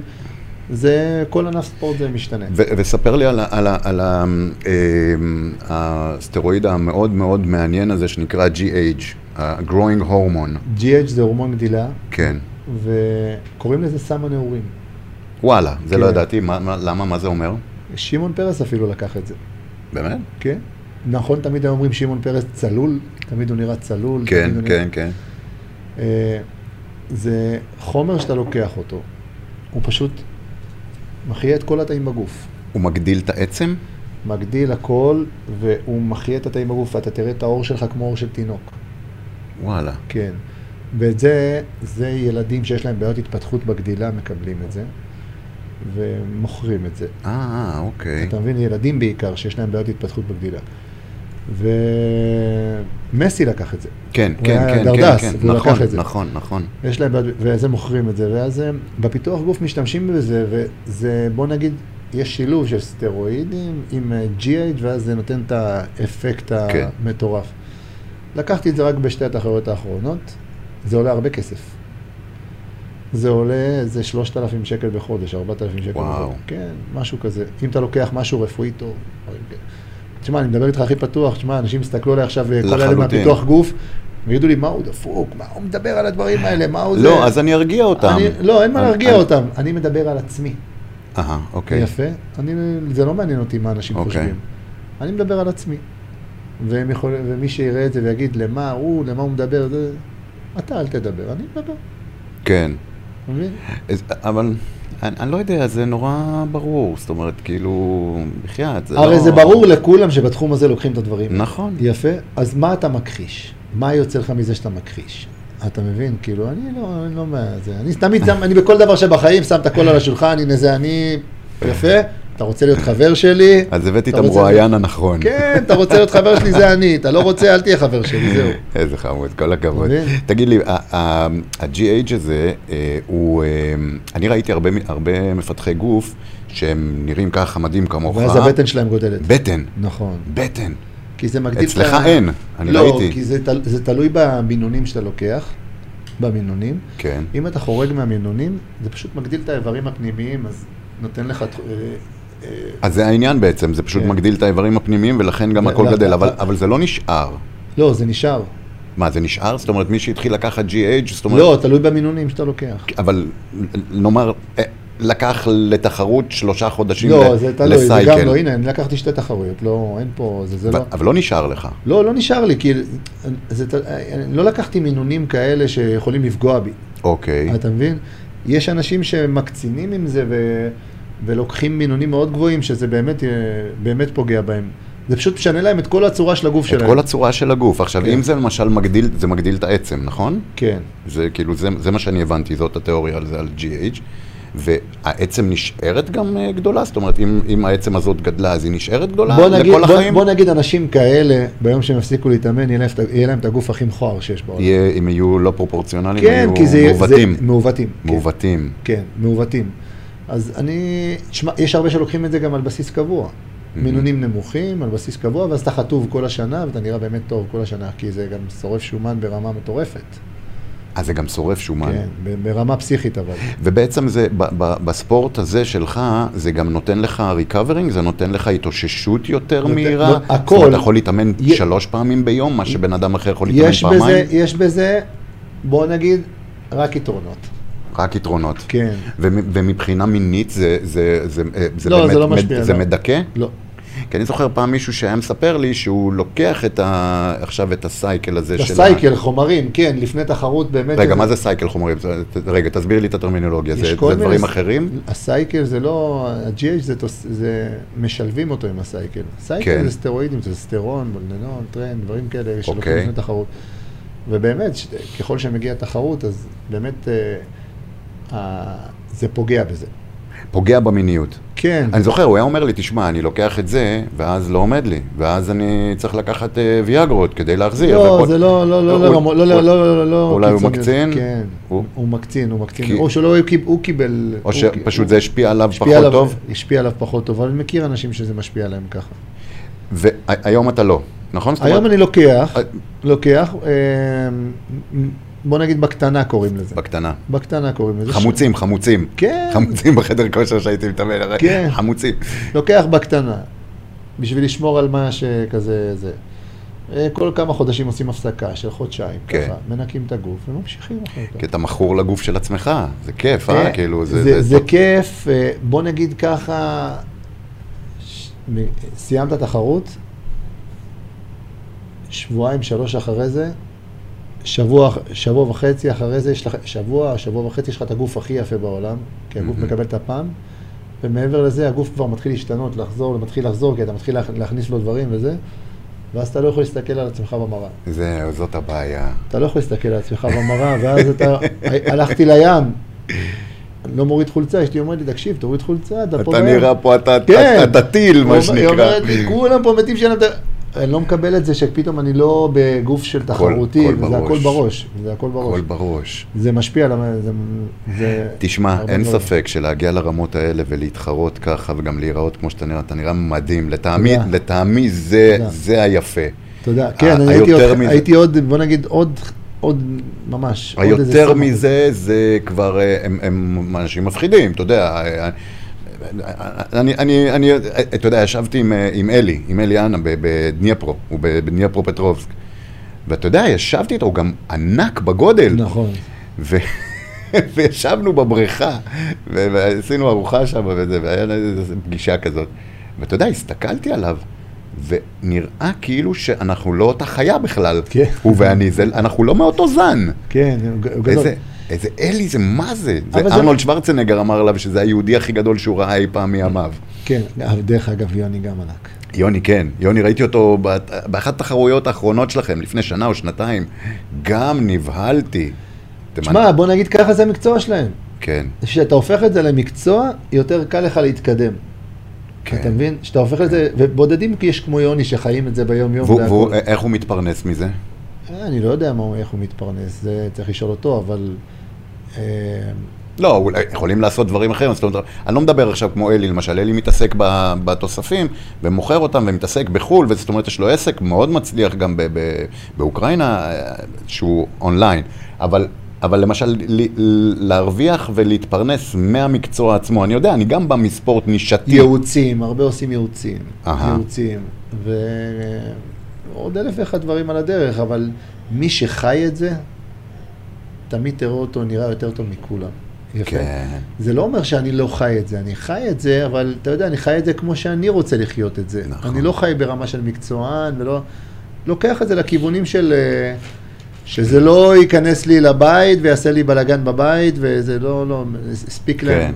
Speaker 3: זה, כל ענף ספורט זה משתנה.
Speaker 2: ו- וספר לי על, ה- על, ה- על ה- אמ, הסטרואיד המאוד מאוד מעניין הזה שנקרא GH, ה-growing hormone.
Speaker 3: GH זה הורמון גדילה,
Speaker 2: כן.
Speaker 3: וקוראים לזה סם הנעורים.
Speaker 2: וואלה, זה
Speaker 3: כן.
Speaker 2: לא ידעתי, מה, מה, למה, מה זה אומר?
Speaker 3: שמעון פרס אפילו לקח את זה,
Speaker 2: באמת?
Speaker 3: כן? נכון, תמיד היו אומרים שמעון פרס צלול, תמיד הוא נראה צלול.
Speaker 2: כן,
Speaker 3: תמיד הוא נראה-
Speaker 2: כן, כן.
Speaker 3: אה, זה חומר שאתה לוקח אותו, הוא פשוט מחיה את כל התאים בגוף.
Speaker 2: הוא מגדיל את העצם?
Speaker 3: מגדיל הכל, והוא מחיה את התאים בגוף, ואתה תראה את האור שלך כמו אור של תינוק.
Speaker 2: וואלה.
Speaker 3: כן. ואת זה, זה ילדים שיש להם בעיות התפתחות בגדילה מקבלים את זה, ומוכרים את זה.
Speaker 2: אה, אוקיי.
Speaker 3: אתה מבין, ילדים בעיקר שיש להם בעיות התפתחות בגדילה. ומסי לקח את זה.
Speaker 2: כן,
Speaker 3: הוא
Speaker 2: כן,
Speaker 3: היה
Speaker 2: כן,
Speaker 3: דרדס,
Speaker 2: כן, כן,
Speaker 3: והוא
Speaker 2: נכון,
Speaker 3: לקח את זה.
Speaker 2: נכון, נכון,
Speaker 3: יש להם בעיות, ואז הם מוכרים את זה, ואז הם, בפיתוח גוף משתמשים בזה, וזה, בוא נגיד, יש שילוב של סטרואידים עם אה, GH, ואז זה נותן את האפקט
Speaker 2: כן.
Speaker 3: המטורף. לקחתי את זה רק בשתי התחרויות האחרונות, זה עולה הרבה כסף. זה עולה איזה 3,000 שקל בחודש, 4,000 שקל
Speaker 2: וואו.
Speaker 3: בחודש. כן, משהו כזה. אם אתה לוקח משהו רפואי טוב, דברים כאלה. תשמע, אני מדבר איתך הכי פתוח, תשמע, אנשים יסתכלו עליי עכשיו, אה, כל אלה
Speaker 2: לחלוטין.
Speaker 3: מהפיתוח גוף, ויגידו לי, מה הוא דפוק, מה הוא מדבר על הדברים האלה, מה הוא זה?
Speaker 2: לא, אז אני ארגיע אותם.
Speaker 3: אני, לא, אין מה
Speaker 2: אני-
Speaker 3: להרגיע
Speaker 2: אני-
Speaker 3: אותם. אני מדבר על עצמי.
Speaker 2: אהה, אוקיי.
Speaker 3: יפה. אני, זה לא מעניין אותי מה אנשים
Speaker 2: אוקיי.
Speaker 3: חושבים. אני מדבר על עצמי. והם יכול, ומי שיראה את זה ויגיד למה הוא, למה הוא מדבר, זה... אתה אל תדבר, אני מדבר.
Speaker 2: כן.
Speaker 3: אתה מבין?
Speaker 2: אז- אבל אני אני לא יודע, זה נורא ברור. זאת אומרת, כאילו, בחייאת, זה לא...
Speaker 3: הרי זה ברור לכולם שבתחום הזה לוקחים את הדברים.
Speaker 2: נכון.
Speaker 3: יפה. אז מה אתה מכחיש? מה יוצא לך מזה שאתה מכחיש? אתה מבין? כאילו, אני לא, אני לא מה... זה... אני תמיד שם, אני בכל דבר שבחיים שם את הכל על השולחן, הנה זה אני... יפה. אתה רוצה להיות חבר שלי?
Speaker 2: אז הבאתי את
Speaker 3: אתה רוצה-
Speaker 2: המרואיין הנכון.
Speaker 3: כן, אתה רוצה להיות חבר שלי, זה אני. אתה לא רוצה, אל תהיה חבר שלי, זהו.
Speaker 2: [LAUGHS] איזה חמוד, כל הכבוד.
Speaker 3: אתה מבין?
Speaker 2: תגיד לי, ה- ה- ה-GH הזה, אה, הוא... אה, אני ראיתי הרבה מ- הרבה מפתחי גוף שהם נראים ככה מדהים כמוך.
Speaker 3: ואז הבטן שלהם גודלת.
Speaker 2: בטן,
Speaker 3: נכון.
Speaker 2: בטן.
Speaker 3: כי זה מגדיל... את
Speaker 2: אצלך
Speaker 3: ה-
Speaker 2: אין, אני
Speaker 3: לא,
Speaker 2: ראיתי.
Speaker 3: כי זה תל- זה תלוי במינונים שאתה לוקח, במינונים.
Speaker 2: כן.
Speaker 3: אם אתה חורג מהמינונים, זה פשוט מגדיל את האיברים הפנימיים, אז נותן לך... תח- אה, אה,
Speaker 2: אז זה העניין בעצם, זה פשוט
Speaker 3: כן. לא,
Speaker 2: מגדיל את האיברים הפנימיים ולכן גם
Speaker 3: ו-
Speaker 2: הכל
Speaker 3: ו-
Speaker 2: גדל, אבל-
Speaker 3: אתה-
Speaker 2: אבל זה לא נשאר.
Speaker 3: לא, זה נשאר.
Speaker 2: מה, זה נשאר? זאת אומרת, מי שהתחיל לקחת GH, זאת אומרת...
Speaker 3: לא, תלוי במינונים שאתה לוקח.
Speaker 2: אבל נאמר, אה, לקח לתחרות שלושה חודשים
Speaker 3: לא,
Speaker 2: ל-
Speaker 3: זה תלוי, זה
Speaker 2: לסייקל.
Speaker 3: גם לא, הנה, אני לקחתי שתי תחרויות, לא, אין פה, זה- זה לא...
Speaker 2: אבל לא נשאר לך.
Speaker 3: לא, לא נשאר לי, כי זה, ת- אני לא לקחתי מינונים כאלה שיכולים לפגוע בי.
Speaker 2: אוקיי.
Speaker 3: אתה מבין? יש אנשים שמקצינים עם זה ו... ולוקחים מינונים מאוד גבוהים, שזה באמת, אה, באמת פוגע בהם. זה פשוט משנה להם את כל הצורה של הגוף
Speaker 2: את
Speaker 3: שלהם.
Speaker 2: כל הצורה של הגוף. עכשיו,
Speaker 3: כן.
Speaker 2: אם זה למשל מגדיל, זה מגדיל את העצם, נכון?
Speaker 3: כן.
Speaker 2: זה כאילו, זה, זה מה שאני הבנתי, זאת התיאוריה על זה, על GH. והעצם נשארת גם אה, גדולה? זאת אומרת, אם, אם העצם הזאת גדלה, אז היא נשארת גדולה?
Speaker 3: בוא נגיד,
Speaker 2: לכל
Speaker 3: בוא,
Speaker 2: החיים?
Speaker 3: בוא נגיד אנשים כאלה, ביום שהם יפסיקו להתאמן, יהיה להם, את ה- יהיה להם את הגוף הכי מכוער שיש בעולם.
Speaker 2: יהיה, אם יהיו לא פרופורציונליים,
Speaker 3: כן,
Speaker 2: יהיו
Speaker 3: כי זה...
Speaker 2: מעוותים.
Speaker 3: זה, מעוותים. כן.
Speaker 2: מעוותים.
Speaker 3: כן, מעוותים. אז אני, תשמע, יש הרבה שלוקחים את זה גם על בסיס קבוע. מינונים נמוכים, על בסיס קבוע, ואז אתה חטוב כל השנה, ואתה נראה באמת טוב כל השנה, כי זה גם שורף שומן ברמה מטורפת.
Speaker 2: אז זה גם שורף שומן.
Speaker 3: כן, ב- ברמה
Speaker 2: [LAUGHS]
Speaker 3: פסיכית אבל.
Speaker 2: ובעצם זה, ב- ב- בספורט הזה שלך, זה גם נותן לך ריקאברינג, זה נותן לך התאוששות יותר
Speaker 3: נותן-
Speaker 2: מהירה.
Speaker 3: לא,
Speaker 2: זאת אומרת,
Speaker 3: הכל.
Speaker 2: אתה יכול להתאמן
Speaker 3: י-
Speaker 2: שלוש פעמים ביום, מה שבן אדם אחר יכול להתאמן
Speaker 3: יש
Speaker 2: פעמיים.
Speaker 3: בזה, יש בזה, בוא נגיד, רק יתרונות.
Speaker 2: רק יתרונות.
Speaker 3: כן.
Speaker 2: ומ- ומבחינה מינית זה, זה, זה, אה, זה
Speaker 3: לא,
Speaker 2: באמת,
Speaker 3: זה לא משפיע,
Speaker 2: מד, זה
Speaker 3: לא.
Speaker 2: מדכא?
Speaker 3: לא.
Speaker 2: כי אני זוכר פעם מישהו שהיה מספר לי שהוא לוקח את ה, עכשיו את הסייקל הזה של... ה-
Speaker 3: בסייקל, חומרים, כן, לפני תחרות באמת...
Speaker 2: רגע,
Speaker 3: איזה-
Speaker 2: מה זה סייקל חומרים? זה- ת- רגע, תסביר לי את הטרמינולוגיה.
Speaker 3: יש
Speaker 2: זה, זה
Speaker 3: כל מיני-
Speaker 2: דברים אחרים?
Speaker 3: הסייקל זה לא, ה-GH זה, תוס- זה משלבים אותו עם הסייקל. סייקל
Speaker 2: כן.
Speaker 3: כן. זה סטרואידים, זה סטרון, בולננון, טרן, דברים כאלה שלוקחים
Speaker 2: אוקיי.
Speaker 3: לפני תחרות. ובאמת, ש- ככל שמגיעה תחרות, אז באמת אה, אה, זה פוגע בזה.
Speaker 2: פוגע במיניות.
Speaker 3: כן,
Speaker 2: אני זוכר, הוא היה אומר לי, תשמע, אני לוקח את זה, ואז לא עומד לי, ואז אני צריך לקחת אה, ויאגרות כדי להחזיר.
Speaker 3: לא,
Speaker 2: וכל-
Speaker 3: זה לא, לא, לא,
Speaker 2: הוא-
Speaker 3: לא, לא, לא,
Speaker 2: הוא-
Speaker 3: לא, לא, לא,
Speaker 2: אולי הוא
Speaker 3: קיצוני.
Speaker 2: מקצין?
Speaker 3: כן,
Speaker 2: הוא-
Speaker 3: הוא מקצין, הוא
Speaker 2: כי-
Speaker 3: מקצין. או שלא, הוא קיב- הוא קיבל...
Speaker 2: או
Speaker 3: הוא קיב-
Speaker 2: שפשוט
Speaker 3: הוא-
Speaker 2: זה השפיע עליו
Speaker 3: השפיע
Speaker 2: פחות
Speaker 3: עליו-
Speaker 2: טוב,
Speaker 3: השפיע עליו פחות טוב, אבל אני מכיר אנשים שזה משפיע עליהם ככה.
Speaker 2: והיום אתה לא, נכון? זאת
Speaker 3: היום
Speaker 2: אומרת,
Speaker 3: אני לוקח,
Speaker 2: אה,
Speaker 3: לוקח, אה, בוא נגיד בקטנה קוראים לזה.
Speaker 2: בקטנה.
Speaker 3: בקטנה קוראים לזה.
Speaker 2: חמוצים, חמוצים.
Speaker 3: כן.
Speaker 2: חמוצים בחדר כושר שהייתי מתאמן, הרי
Speaker 3: כן.
Speaker 2: חמוצים.
Speaker 3: לוקח בקטנה, בשביל לשמור על מה שכזה זה. אה, כל כמה חודשים עושים הפסקה של חודשיים,
Speaker 2: כן.
Speaker 3: ככה, מנקים את הגוף וממשיכים אחר כך.
Speaker 2: כי אתה מכור לגוף של עצמך, זה כיף, אה?
Speaker 3: אה,
Speaker 2: כאילו, זה...
Speaker 3: זה, זה, זה כיף, אה, בוא נגיד ככה, ש... מ- סיימת תחרות, שבועיים, שלוש אחרי זה, שבוע, שבוע וחצי אחרי זה, יש לך, שבוע, שבוע וחצי, יש לך את הגוף הכי יפה בעולם, כי הגוף
Speaker 2: מהמם.
Speaker 3: מקבל את הפעם, ומעבר לזה הגוף כבר מתחיל להשתנות, לחזור, מתחיל לחזור, כי אתה מתחיל להכ- להכניס לו דברים וזה, ואז אתה לא יכול להסתכל על עצמך במראה.
Speaker 2: זהו, זאת הבעיה.
Speaker 3: אתה לא יכול להסתכל על עצמך במראה, ואז אתה, הלכתי לים, לא מוריד חולצה, אשתי אומרת לי, תקשיב, תוריד חולצה, אתה פה...
Speaker 2: אתה
Speaker 3: בים."
Speaker 2: נראה פה, אתה-
Speaker 3: כן.
Speaker 2: אתה- אתה טיל,
Speaker 3: הוא אומר-
Speaker 2: מה שנקרא.
Speaker 3: היא אומרת לי, כולם פה מתים שאין להם... את ה-" אני לא מקבל את זה שפתאום אני לא בגוף של תחרותי,
Speaker 2: הכל
Speaker 3: זה הכל
Speaker 2: בראש.
Speaker 3: בראש, זה הכל בראש.
Speaker 2: הכל בראש.
Speaker 3: זה משפיע על... ה- זה- זה...
Speaker 2: תשמע,
Speaker 3: הרבה
Speaker 2: אין
Speaker 3: דברים.
Speaker 2: ספק שלהגיע לרמות האלה ולהתחרות ככה וגם להיראות כמו שאתה נראה, אתה נראה מדהים. לטעמי,
Speaker 3: תודה.
Speaker 2: לטעמי זה,
Speaker 3: תודה.
Speaker 2: זה היפה.
Speaker 3: אתה יודע, כן,
Speaker 2: ה-
Speaker 3: אני הייתי
Speaker 2: היותר
Speaker 3: עוד-
Speaker 2: מזה-
Speaker 3: הייתי עוד, בוא נגיד, עוד, עוד, ממש. עוד איזה
Speaker 2: היותר
Speaker 3: סמוך.
Speaker 2: מזה, זה כבר, אה, הם, הם אנשים מפחידים, אתה יודע. אה, אה, אני, אני, אני, אה, אתה יודע, ישבתי עם, אה, עם אלי, עם אלי אנה ב- בדניפרו, הוא ב- בדניפרו פטרובסק. ואתה יודע, ישבתי איתו, הוא גם ענק בגודל.
Speaker 3: נכון.
Speaker 2: ו... [LAUGHS] וישבנו בבריכה, ו... ועשינו ארוחה שם וזה, והיה לנו איזו פגישה כזאת. ואתה יודע, הסתכלתי עליו, ונראה כאילו שאנחנו לא אותה חיה בכלל.
Speaker 3: כן.
Speaker 2: הוא ואני, זה... אנחנו לא מאותו זן.
Speaker 3: כן, הוא ג- הוא גדול.
Speaker 2: איזה, איזה אלי, זה מה זה? זה
Speaker 3: אבל זה-
Speaker 2: ארנולד שוורצנגר אמר עליו שזה היהודי הכי גדול שהוא ראה אי פעם מימיו.
Speaker 3: כן, אבל דרך אגב, יוני גם ענק.
Speaker 2: יוני, כן. יוני, ראיתי אותו בת- באחת התחרויות האחרונות שלכם, לפני שנה או שנתיים. גם נבהלתי. אתם-
Speaker 3: שמע, בוא נגיד ככה זה המקצוע שלהם.
Speaker 2: כן,
Speaker 3: כשאתה הופך את זה למקצוע, יותר קל לך להתקדם.
Speaker 2: כן.
Speaker 3: אתה מבין? כשאתה הופך את זה, ובודדים כי יש כמו יוני שחיים את זה ביום-יום. והכל.
Speaker 2: ואיך הוא מתפרנס מזה?
Speaker 3: אה, אני לא יודע מה הוא- איך הוא מתפרנס, זה צריך לשאול אותו, אבל... אה,
Speaker 2: לא, אולי יכולים לעשות דברים אחרים, זאת אומרת, אני לא מדבר עכשיו כמו אלי, למשל, אלי מתעסק ב- בתוספים ומוכר אותם ומתעסק בחו"ל, וזאת אומרת, יש לו עסק מאוד מצליח גם ב- ב- באוקראינה, אה, שהוא אונליין, אבל... אבל למשל, ל- ל- להרוויח ולהתפרנס מהמקצוע עצמו, אני יודע, אני גם בא מספורט נישתי.
Speaker 3: ייעוצים, הרבה עושים ייעוצים.
Speaker 2: אהה.
Speaker 3: ייעוצים. ועוד אלף ואחד דברים על הדרך, אבל מי שחי את זה, תמיד תראה אותו נראה יותר טוב מכולם. יפה.
Speaker 2: כן,
Speaker 3: זה לא אומר שאני לא חי את זה, אני חי את זה, אבל אתה יודע, אני חי את זה כמו שאני רוצה לחיות את זה.
Speaker 2: נכון.
Speaker 3: אני לא חי ברמה של מקצוען, ולא... לוקח את זה לכיוונים של... אה, שזה לא ייכנס לי לבית ויעשה לי בלאגן בבית, וזה לא, לא, הספיק להם,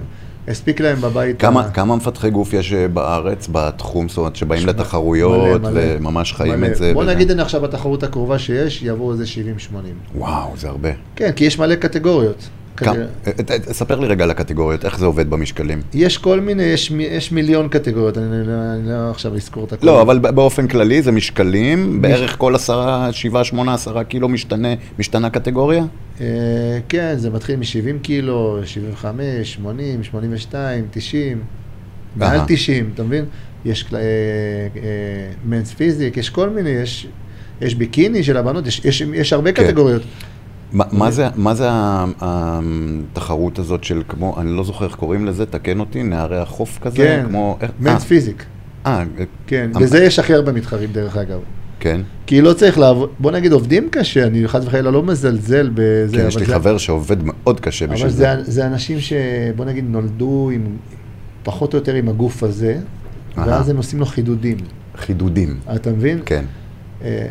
Speaker 3: הספיק להם בבית.
Speaker 2: כן. כמה,
Speaker 3: ה-
Speaker 2: כמה מפתחי גוף יש אה, בארץ, בתחום, זאת אומרת, שבאים
Speaker 3: שמע,
Speaker 2: לתחרויות,
Speaker 3: מלא, מלא.
Speaker 2: וממש חיים
Speaker 3: מלא.
Speaker 2: את זה?
Speaker 3: בוא
Speaker 2: וזה?
Speaker 3: נגיד, הנה עכשיו בתחרות הקרובה שיש, יבואו איזה 70-80.
Speaker 2: וואו, זה הרבה.
Speaker 3: כן, כי יש מלא קטגוריות.
Speaker 2: כמה-
Speaker 3: כנראה.
Speaker 2: אה, אה, אה, ספר לי רגע על הקטגוריות, איך זה עובד במשקלים.
Speaker 3: יש כל מיני, יש, מי- יש מיליון קטגוריות, אני לא אני לא עכשיו אזכור את הכול.
Speaker 2: לא, אבל ב- באופן כללי זה משקלים, בערך כל עשרה, שבעה, שמונה, עשרה קילו משתנה, משתנה קטגוריה?
Speaker 3: אה, כן, זה מתחיל מ-70 קילו, 75, 80, 82, 90, מעל
Speaker 2: אהה.
Speaker 3: 90, אתה מבין? יש אה, מנס פיזיק, יש כל מיני, יש... יש ביקיני של הבנות, יש, יש, יש הרבה
Speaker 2: כן.
Speaker 3: קטגוריות.
Speaker 2: מה- מה זה- מה זה ה- התחרות הזאת של כמו, אני לא זוכר איך קוראים לזה, תקן אותי, נערי החוף כזה?
Speaker 3: כן,
Speaker 2: כמו... איך- אה,
Speaker 3: מנס פיזיק.
Speaker 2: אה,
Speaker 3: כן,
Speaker 2: אמ-
Speaker 3: בזה יש הכי הרבה מתחרים דרך אגב.
Speaker 2: כן.
Speaker 3: כי לא צריך לעבוד, בוא נגיד עובדים קשה, אני חס וחלילה לא מזלזל בזה,
Speaker 2: כן, יש לי
Speaker 3: זה,
Speaker 2: חבר שעובד מאוד קשה
Speaker 3: אבל
Speaker 2: בשביל
Speaker 3: זה,
Speaker 2: זה.
Speaker 3: זה אנשים שבוא נגיד נולדו עם, פחות או יותר עם הגוף הזה,
Speaker 2: אהה.
Speaker 3: ואז הם עושים לו חידודים,
Speaker 2: חידודים.
Speaker 3: אתה מבין?
Speaker 2: כן,
Speaker 3: אה,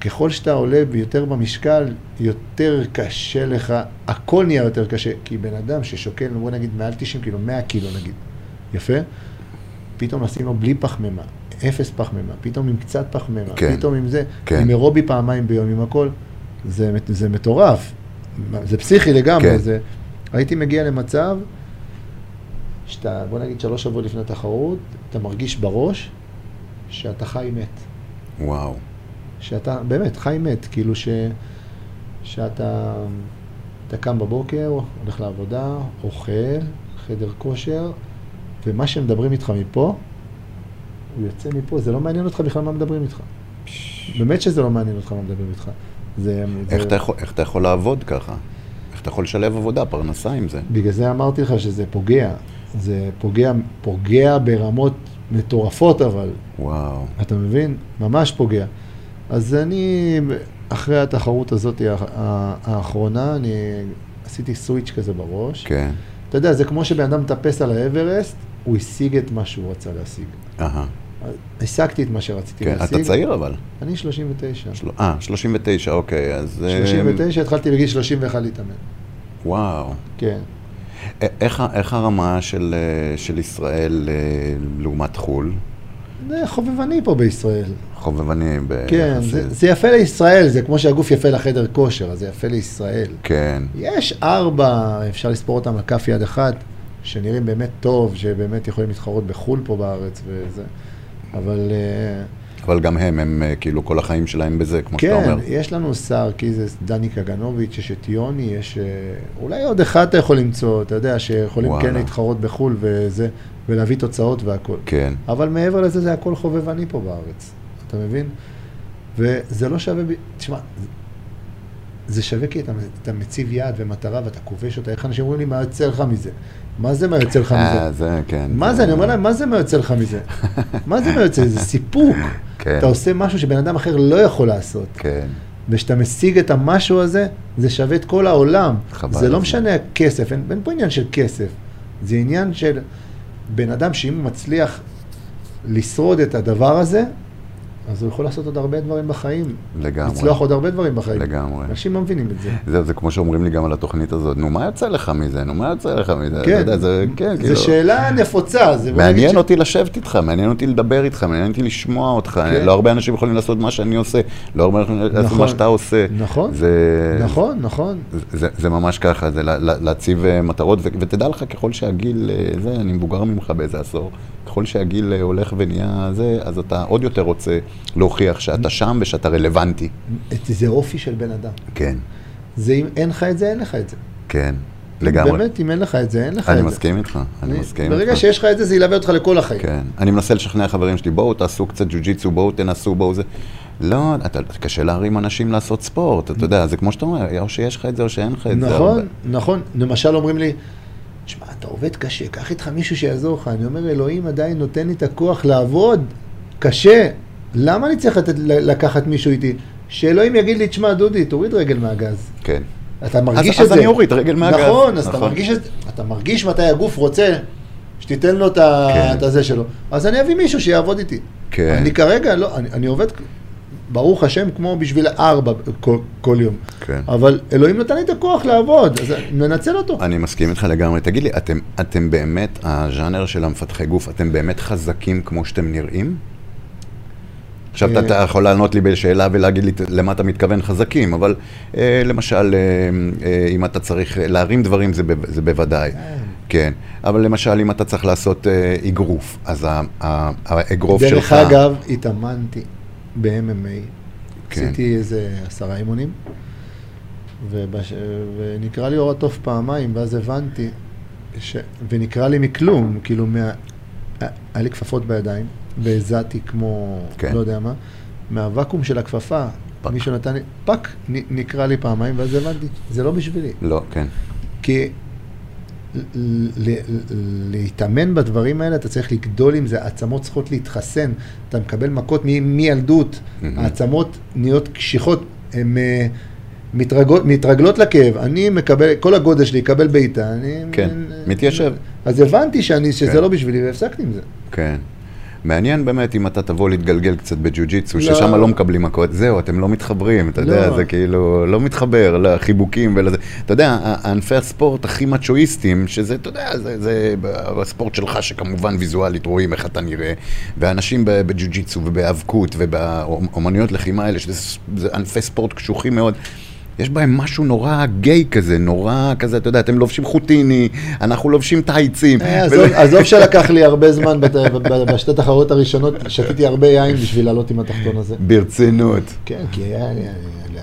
Speaker 3: ככל שאתה עולה יותר במשקל, יותר קשה לך, הכל נהיה יותר קשה, כי בן אדם ששוקל, בוא נגיד מעל 90 קילו, 100 קילו נגיד, יפה? פתאום נשים לו בלי פחמימה, אפס פחמימה, פתאום עם קצת פחמימה,
Speaker 2: כן.
Speaker 3: פתאום עם זה,
Speaker 2: כן.
Speaker 3: עם אירובי פעמיים ביום, עם הכל, זה, מט- זה מטורף, זה פסיכי לגמרי,
Speaker 2: כן.
Speaker 3: זה... הייתי מגיע למצב שאתה, בוא נגיד שלוש שבועות לפני התחרות, אתה מרגיש בראש שאתה חי מת.
Speaker 2: וואו.
Speaker 3: שאתה באמת חי מת, כאילו ש... שאתה אתה קם בבוקר, הולך לעבודה, אוכל, חדר כושר, ומה שמדברים איתך מפה, הוא יוצא מפה, זה לא מעניין אותך בכלל מה מדברים איתך. באמת שזה לא מעניין אותך מה מדברים איתך. זה,
Speaker 2: איך
Speaker 3: זה...
Speaker 2: אתה יכול- איך אתה יכול לעבוד ככה? איך אתה יכול לשלב עבודה, פרנסה עם זה?
Speaker 3: בגלל זה אמרתי לך שזה פוגע. זה פוגע, פוגע ברמות מטורפות אבל,
Speaker 2: וואו.
Speaker 3: אתה מבין? ממש פוגע. אז אני, אחרי התחרות הזאת האח- הא- האחרונה, אני עשיתי סוויץ' כזה בראש.
Speaker 2: כן.
Speaker 3: אתה יודע, זה כמו שבן אדם מטפס על האברסט, הוא השיג את מה שהוא רצה להשיג.
Speaker 2: אהה.
Speaker 3: השגתי את מה שרציתי
Speaker 2: כן,
Speaker 3: להשיג.
Speaker 2: אתה צעיר אבל.
Speaker 3: אני 39.
Speaker 2: של- אה, 39, אוקיי, אז... אה,
Speaker 3: 39, התחלתי בגיל 31 להתאמן.
Speaker 2: וואו.
Speaker 3: כן.
Speaker 2: א- איך, ה- איך הרמה של, אה, של ישראל אה, לעומת חו"ל?
Speaker 3: זה חובבני פה בישראל.
Speaker 2: חובבנים ב...
Speaker 3: כן,
Speaker 2: יחסית.
Speaker 3: זה, זה יפה לישראל, זה כמו שהגוף יפה לחדר כושר, אז זה יפה לישראל.
Speaker 2: כן,
Speaker 3: יש ארבע, אפשר לספור אותם על כף יד אחת, שנראים באמת טוב, שבאמת יכולים להתחרות בחו"ל פה בארץ וזה. אבל אה,
Speaker 2: אבל גם הם, הם אה, כאילו כל החיים שלהם בזה, כמו שאתה
Speaker 3: כן,
Speaker 2: אומר.
Speaker 3: יש לנו שר קיזס, דני קגנוביץ', יש את יוני, יש אה, אולי עוד אחד אתה יכול למצוא, אתה יודע, שיכולים
Speaker 2: וואלה.
Speaker 3: כן להתחרות בחו"ל וזה, ולהביא תוצאות והכול.
Speaker 2: כן,
Speaker 3: אבל מעבר לזה, זה הכל חובבני פה בארץ, אתה מבין? וזה לא שווה, ב- תשמע, זה- זה שווה כי אתה, אתה מציב יעד ומטרה ואתה כובש אותה, איך אנשים אומרים לי, מה יוצא לך מזה? מה זה מה יוצא לך מזה?
Speaker 2: אה, זה, כן.
Speaker 3: מה זה, אני אומר להם, מה זה מה יוצא לך
Speaker 2: [LAUGHS]
Speaker 3: מזה? מה זה מה יוצא? זה סיפוק.
Speaker 2: כן,
Speaker 3: אתה עושה משהו שבן אדם אחר לא יכול לעשות.
Speaker 2: כן,
Speaker 3: וכשאתה משיג את המשהו הזה, זה שווה את כל העולם.
Speaker 2: חבל
Speaker 3: זה לא
Speaker 2: הזמן.
Speaker 3: משנה הכסף, אין, אין פה עניין של כסף. זה עניין של בן אדם שאם הוא מצליח לשרוד את הדבר הזה, אז הוא יכול לעשות עוד הרבה דברים בחיים.
Speaker 2: לגמרי.
Speaker 3: לצלוח עוד הרבה דברים בחיים.
Speaker 2: לגמרי. אה,
Speaker 3: אנשים לא מבינים את זה.
Speaker 2: זהו, זה כמו שאומרים לי גם על התוכנית הזאת, נו, מה יצא לך מזה? נו, מה יצא לך מזה? אתה יודע, זה, כן,
Speaker 3: זו
Speaker 2: כאילו.
Speaker 3: שאלה נפוצה. זה לא בוא נגיד
Speaker 2: מעניין
Speaker 3: ש-
Speaker 2: אותי לשבת איתך, מעניין אותי לדבר איתך, מעניין אותי לשמוע אותך.
Speaker 3: כן.
Speaker 2: לא הרבה אנשים יכולים לעשות מה שאני עושה, לא הרבה אנשים יכולים לעשות
Speaker 3: נכון.
Speaker 2: מה שאתה עושה.
Speaker 3: נכון,
Speaker 2: זה,
Speaker 3: נכון, נכון.
Speaker 2: זה, זה ממש ככה, זה לה- לה- להציב אה, מטרות, ו- ותדע לך, ככל שהגיל, אה, זה, אני מבוגר ממך באיזה עשור, ככל שהגיל אה, הולך ונהיה זה, אז אתה עוד יותר רוצה להוכיח שאתה שם ושאתה רלוונטי.
Speaker 3: את- זה אופי של בן אדם.
Speaker 2: כן,
Speaker 3: זה אם אין לך את זה, אין לך את זה.
Speaker 2: כן, לגמרי.
Speaker 3: באמת, אם אין לך את זה, אין לך את
Speaker 2: אני
Speaker 3: זה.
Speaker 2: מסכים איתך, אני מסכים איתך.
Speaker 3: ברגע שיש לך את זה, זה ילווה אותך לכל החיים.
Speaker 2: כן. אני מנסה לשכנע חברים שלי, בואו תעשו קצת ג'ו-ג'יצו, בואו תנסו, בואו זה. לא, אתה, קשה להרים אנשים לעשות ספורט, אתה יודע, זה כמו שאתה אומר, או שיש לך את זה או שאין לך את זה.
Speaker 3: נכון,
Speaker 2: אבל-
Speaker 3: נכון. למשל אומרים לי, שמע, אתה עובד קשה, קח איתך מישהו שיעזור לך. אני אומר, אלוהים עדיין נותן לי את הכוח לעבוד קשה. למה אני צריך לתת, לקחת מישהו איתי? שאלוהים יגיד לי, תשמע, דודי, תוריד רגל מהגז.
Speaker 2: כן.
Speaker 3: אתה
Speaker 2: אז,
Speaker 3: מרגיש את
Speaker 2: אז
Speaker 3: זה.
Speaker 2: אני אוריד רגל מהגז.
Speaker 3: נכון, אז אתה מרגיש את זה. אתה מרגיש מתי הגוף רוצה שתיתן לו את ה-
Speaker 2: כן.
Speaker 3: את הזה שלו. אז אני אביא מישהו שיעבוד איתי.
Speaker 2: כן.
Speaker 3: אני כרגע, לא, אני, אני עובד, ברוך השם, כמו בשביל ארבע כל, כל יום.
Speaker 2: כן.
Speaker 3: אבל אלוהים נתן לי את הכוח לעבוד, אז ננצל אותו.
Speaker 2: אני מסכים איתך לגמרי. תגיד לי, אתם, אתם באמת, הז'אנר של המפתחי גוף, אתם באמת חזקים כמו שאתם נראים? עכשיו, אתה,
Speaker 3: אה.
Speaker 2: אתה יכול לענות לי בשאלה ולהגיד לי "ת- למה אתה מתכוון חזקים, אבל אה, למשל, אה, אה, אם אתה צריך אה, להרים דברים, זה, ב, זה בוודאי. כן, אבל למשל, אם אתה צריך לעשות אה, אגרוף, אז ה- ה- האגרוף שלך...
Speaker 3: דרך אגב, התאמנתי ב-MMA.
Speaker 2: כן.
Speaker 3: עשיתי איזה עשרה אימונים, ובש... ונקרא לי אור התוף פעמיים, ואז הבנתי, ש... ונקרא לי מכלום, כאילו, מה... היה לי כפפות בידיים, והזעתי כמו,
Speaker 2: כן.
Speaker 3: כן. לא יודע מה, מהוואקום של הכפפה,
Speaker 2: פק.
Speaker 3: מישהו נתן לי, פאק, נ- נקרא לי פעמיים, ואז הבנתי, זה לא בשבילי.
Speaker 2: לא, כן,
Speaker 3: כי ל- ל- ל- להתאמן בדברים האלה, אתה צריך לגדול עם זה, העצמות צריכות להתחסן, אתה מקבל מכות מ- מילדות,
Speaker 2: מהמם.
Speaker 3: העצמות נהיות קשיחות, הן אה, מתרגות- מתרגלות לכאב, אני מקבל, כל הגודל שלי יקבל בעיטה, אני...
Speaker 2: כן,
Speaker 3: אה,
Speaker 2: מתיישב.
Speaker 3: אז הבנתי שאני, שזה
Speaker 2: כן.
Speaker 3: לא בשבילי, והפסקתי עם זה.
Speaker 2: כן. מעניין באמת אם אתה תבוא להתגלגל קצת בג'ו-ג'יצו,
Speaker 3: לא.
Speaker 2: ששם לא מקבלים מכות, זהו, אתם לא מתחברים, אתה יודע,
Speaker 3: לא.
Speaker 2: זה כאילו לא מתחבר לחיבוקים ולזה. אתה יודע, ה- ענפי הספורט הכי מצ'ואיסטים, שזה, אתה יודע, זה, זה ב- הספורט שלך, שכמובן ויזואלית רואים איך אתה נראה, ואנשים ב- בג'ו-ג'יצו ובהיאבקות ובאומנויות לחימה האלה, שזה ס- זה ענפי ספורט קשוחים מאוד. יש בהם משהו נורא גיי כזה, נורא כזה, אתה יודע, אתם לובשים חוטיני, אנחנו לובשים טייצים.
Speaker 3: אה,
Speaker 2: ולא-
Speaker 3: עזוב- עזוב שלקח לי הרבה זמן, בת- ב- בשתי התחרויות הראשונות שתיתי הרבה יין בשביל לעלות עם התחתון הזה.
Speaker 2: ברצינות.
Speaker 3: כן, כי היה אני, אני,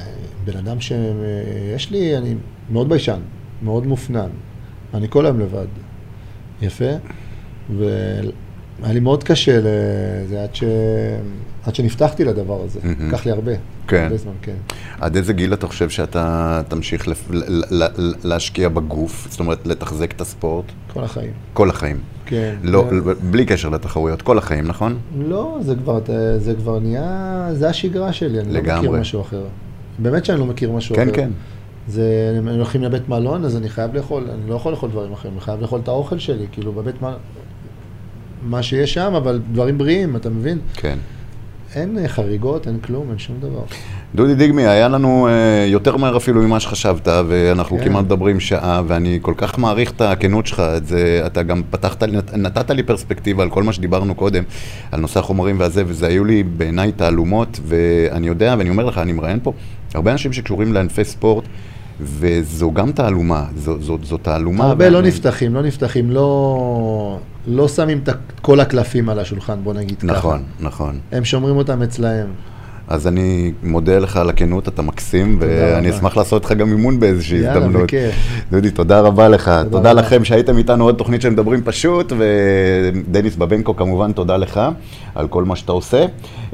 Speaker 3: בן אדם שיש לי, אני מאוד ביישן, מאוד מופנם. אני כל היום לבד. יפה. והיה לי מאוד קשה לזה עד, ש... עד שנפתחתי לדבר הזה.
Speaker 2: מהמם.
Speaker 3: לקח לי הרבה.
Speaker 2: כן.
Speaker 3: הרבה זמן, כן.
Speaker 2: עד איזה גיל אתה חושב שאתה תמשיך לפ... ל- ל- ל- להשקיע בגוף? זאת אומרת, לתחזק את הספורט?
Speaker 3: כל החיים.
Speaker 2: כל החיים.
Speaker 3: כן.
Speaker 2: לא,
Speaker 3: זה-
Speaker 2: בלי קשר לתחרויות, כל החיים, נכון?
Speaker 3: לא, זה כבר, אתה- זה כבר נהיה, זה השגרה שלי, אני לא מכיר
Speaker 2: לגמרי.
Speaker 3: משהו אחר. באמת שאני לא מכיר משהו
Speaker 2: כן,
Speaker 3: אחר.
Speaker 2: כן.
Speaker 3: זה, הם הולכים לבית מלון, אז אני חייב לאכול, אני לא יכול לאכול דברים אחרים, אני חייב לאכול את האוכל שלי, כאילו בבית מלון, מה שיש שם, אבל דברים בריאים, אתה מבין?
Speaker 2: כן.
Speaker 3: אין אה, חריגות, אין כלום, אין שום דבר.
Speaker 2: דודי דיגמי, היה לנו אה, יותר מהר אפילו ממה שחשבת, ואנחנו
Speaker 3: כן.
Speaker 2: כמעט מדברים שעה, ואני כל כך מעריך את הכנות שלך, את זה, אתה גם פתחת, לי- נת- נתת לי פרספקטיבה על כל מה שדיברנו קודם, על נושא החומרים והזה, וזה היו לי בעיניי תעלומות, ואני יודע, ואני אומר לך, אני מראיין פה, הרבה אנשים שקשורים לענפי ספורט, וזו גם תעלומה, זו, זו, זו תעלומה.
Speaker 3: הרבה לא
Speaker 2: ואני-
Speaker 3: נפתחים, לא נפתחים, לא, לא שמים את ה- כל הקלפים על השולחן, בוא נגיד ככה.
Speaker 2: נכון, נכון.
Speaker 3: הם שומרים אותם אצלהם.
Speaker 2: אז אני מודה לך על הכנות, אתה מקסים,
Speaker 3: תודה
Speaker 2: ואני
Speaker 3: רבה.
Speaker 2: אשמח לעשות לך גם אימון באיזושהי
Speaker 3: יאללה,
Speaker 2: הזדמנות.
Speaker 3: בכיף.
Speaker 2: דודי, תודה רבה לך. תודה, תודה
Speaker 3: רבה.
Speaker 2: לכם שהייתם איתנו עוד תוכנית שמדברים פשוט, ודניס בבנקו כמובן, תודה לך על כל מה שאתה עושה.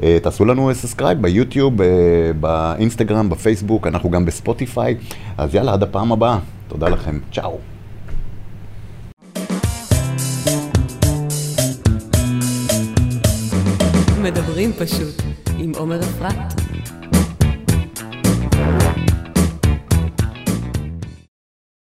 Speaker 2: אה, תעשו לנו סאסקרייב ביוטיוב, אה, באינסטגרם, בפייסבוק, אנחנו גם בספוטיפיי. אז יאללה, עד הפעם הבאה. תודה לכם. צ'או.
Speaker 1: מדברים פשוט עם עומר אפרת.